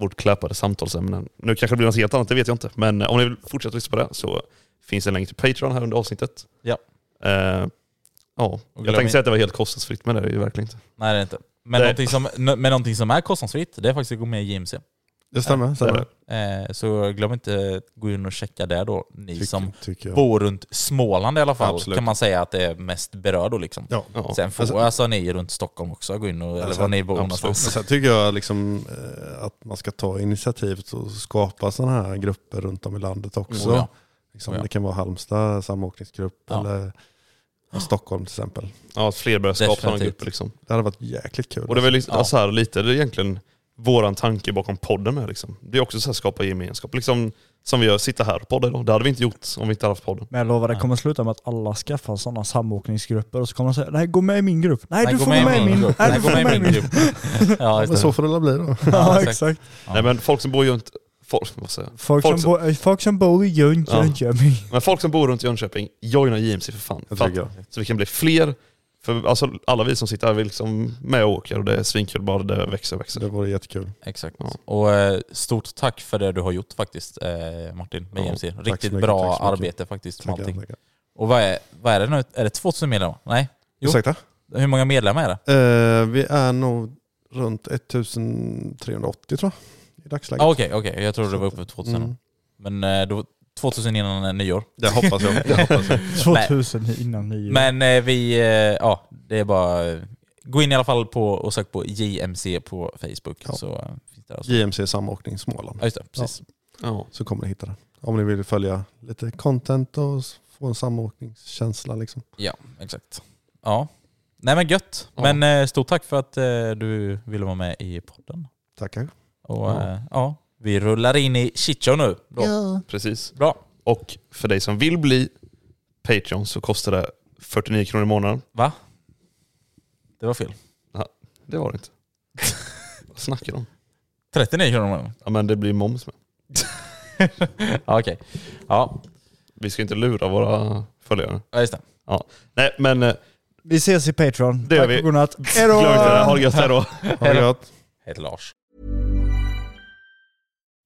B: vårt kläpade samtalsämne. Nu kanske det blir något helt annat, det vet jag inte. Men eh, om ni vill fortsätta lyssna på det så finns det en länk till Patreon här under avsnittet.
C: Ja.
B: Eh, ja, jag
C: glöm
B: tänkte
C: in-
B: säga att det var helt kostnadsfritt, men det är det ju verkligen inte.
C: Nej det är inte. Men,
B: Det-
C: någonting som, n- men någonting som är kostnadsfritt, det är faktiskt att gå med i JMC.
E: Det stämmer. stämmer.
B: det är
C: Eh, så glöm inte att gå in och checka det då. Ni
E: Tycker-
C: som
E: tycker jag.
C: bor runt Småland i alla fall
E: Absolut.
C: kan man säga att det är mest berörd då liksom.
E: Ja.
C: Sen får alltså,
E: Alltså-
C: ni runt Stockholm också gå in och, eller
E: Alltså,
C: var ni bor
E: absolut. Men
C: någonstans.
E: Sen tycker jag liksom, eh, att man ska ta initiativet och skapa sådana här grupper runt om i landet också.
C: Oh, ja.
E: Liksom,
C: Oh, ja.
E: Det kan vara Halmstad samåkningsgrupp
C: Ja.
E: eller Stockholm till exempel.
B: Ja, att fler börjar skapa sådana
C: Definitivt.
B: grupper liksom.
E: Det hade varit jäkligt kul.
B: Och det är väl
E: alltså.
B: liksom, så här, lite det är egentligen våran tanke bakom podden med liksom. Det är också så här skapa gemenskap. Liksom, som vi gör, sitta här och podda idag. Det hade vi inte gjort om vi inte hade haft podden.
D: Men jag lovar, det kommer sluta med att alla skaffar sådana samåkningsgrupper och så kommer de säga nej gå med i min grupp. Nej,
C: Nej,
D: du
C: gå
D: får gå med i min.
C: grupp.
D: Nej,
C: Nej,
D: du
C: gå
D: får
C: med i min grupp. Ja,
E: Men
C: just
E: så
C: det.
E: får det väl bli då.
D: Ja
C: exakt.
D: exakt.
B: Nej men folk som bor ju inte... Folk, vad säger jag?
D: Folk,
B: Folk
D: som, bo, eh, folk som bor i Jön-
B: Ja.
D: Jönköping.
B: Men folk som bor runt Jönköping, joina JMC för fan.
E: Jag
B: För
E: tycker
B: att- så vi kan bli fler. För alltså, alla vi som sitter här, vi liksom med och åker och det är svinkul bara det växer och
E: Så det
B: växer.
E: vore jättekul.
C: Exakt.
B: Ja.
C: Och eh, stort tack för det du har gjort faktiskt eh, Martin med
E: Ja,
C: JMC.
E: tack så
C: Riktigt
E: mycket,
C: bra
E: tack så mycket.
C: arbete faktiskt med
E: Tackar,
C: allting.
E: tackar.
C: Och vad är, vad är det nu? Är det 2000 medlemmar? Nej. Jo.
E: Ursäkta?
C: Hur många medlemmar är det?
E: Eh, vi är nog runt 1380 tror jag i dagsläget.
C: Ah, Okej, okej. Jag trodde det var uppe på 2000.
E: Mm.
C: Men eh, då, 2000 innan eh, nyår.
E: Det hoppas jag. Det hoppas jag.
D: 2000 innan nyår.
C: Men eh, vi, eh, ja, det är bara... eh, Gå in i alla fall på och sök på JMC på Facebook.
E: Ja.
C: Så eh, finns det alltså.
E: JMC Samåkning Småland.
C: Ja, just det. Precis.
B: Ja.
E: så kommer ni hitta den. Om ni vill följa lite content och s- få en samåkningskänsla. Liksom.
C: Ja, exakt. Ja. Nej men gött.
B: Ja.
C: Men eh, stort tack för att eh, du ville vara med i podden.
E: Tackar.
C: Och
B: Ja.
C: eh, ja, vi rullar in i shitshow nu. Då.
B: Precis.
C: Bra.
B: Och för dig som vill bli Patreon så kostar det 49 kronor i månaden.
C: Va? Det var fel.
B: Det var det inte. Vad snackar du om?
C: 39 kronor om månaden.
B: Ja men det blir moms med.
C: Ja, Okej. Ja,
B: Vi ska inte lura våra följare.
C: ja, just det.
B: Nej men eh,
D: vi ses i Patreon.
B: Det gör
D: Tack
B: vi.
D: och godnatt.
B: glöm
D: Hejdå!
B: inte det. Ha det gött, hejdå.
E: Ha det gött.
C: Heter Lars.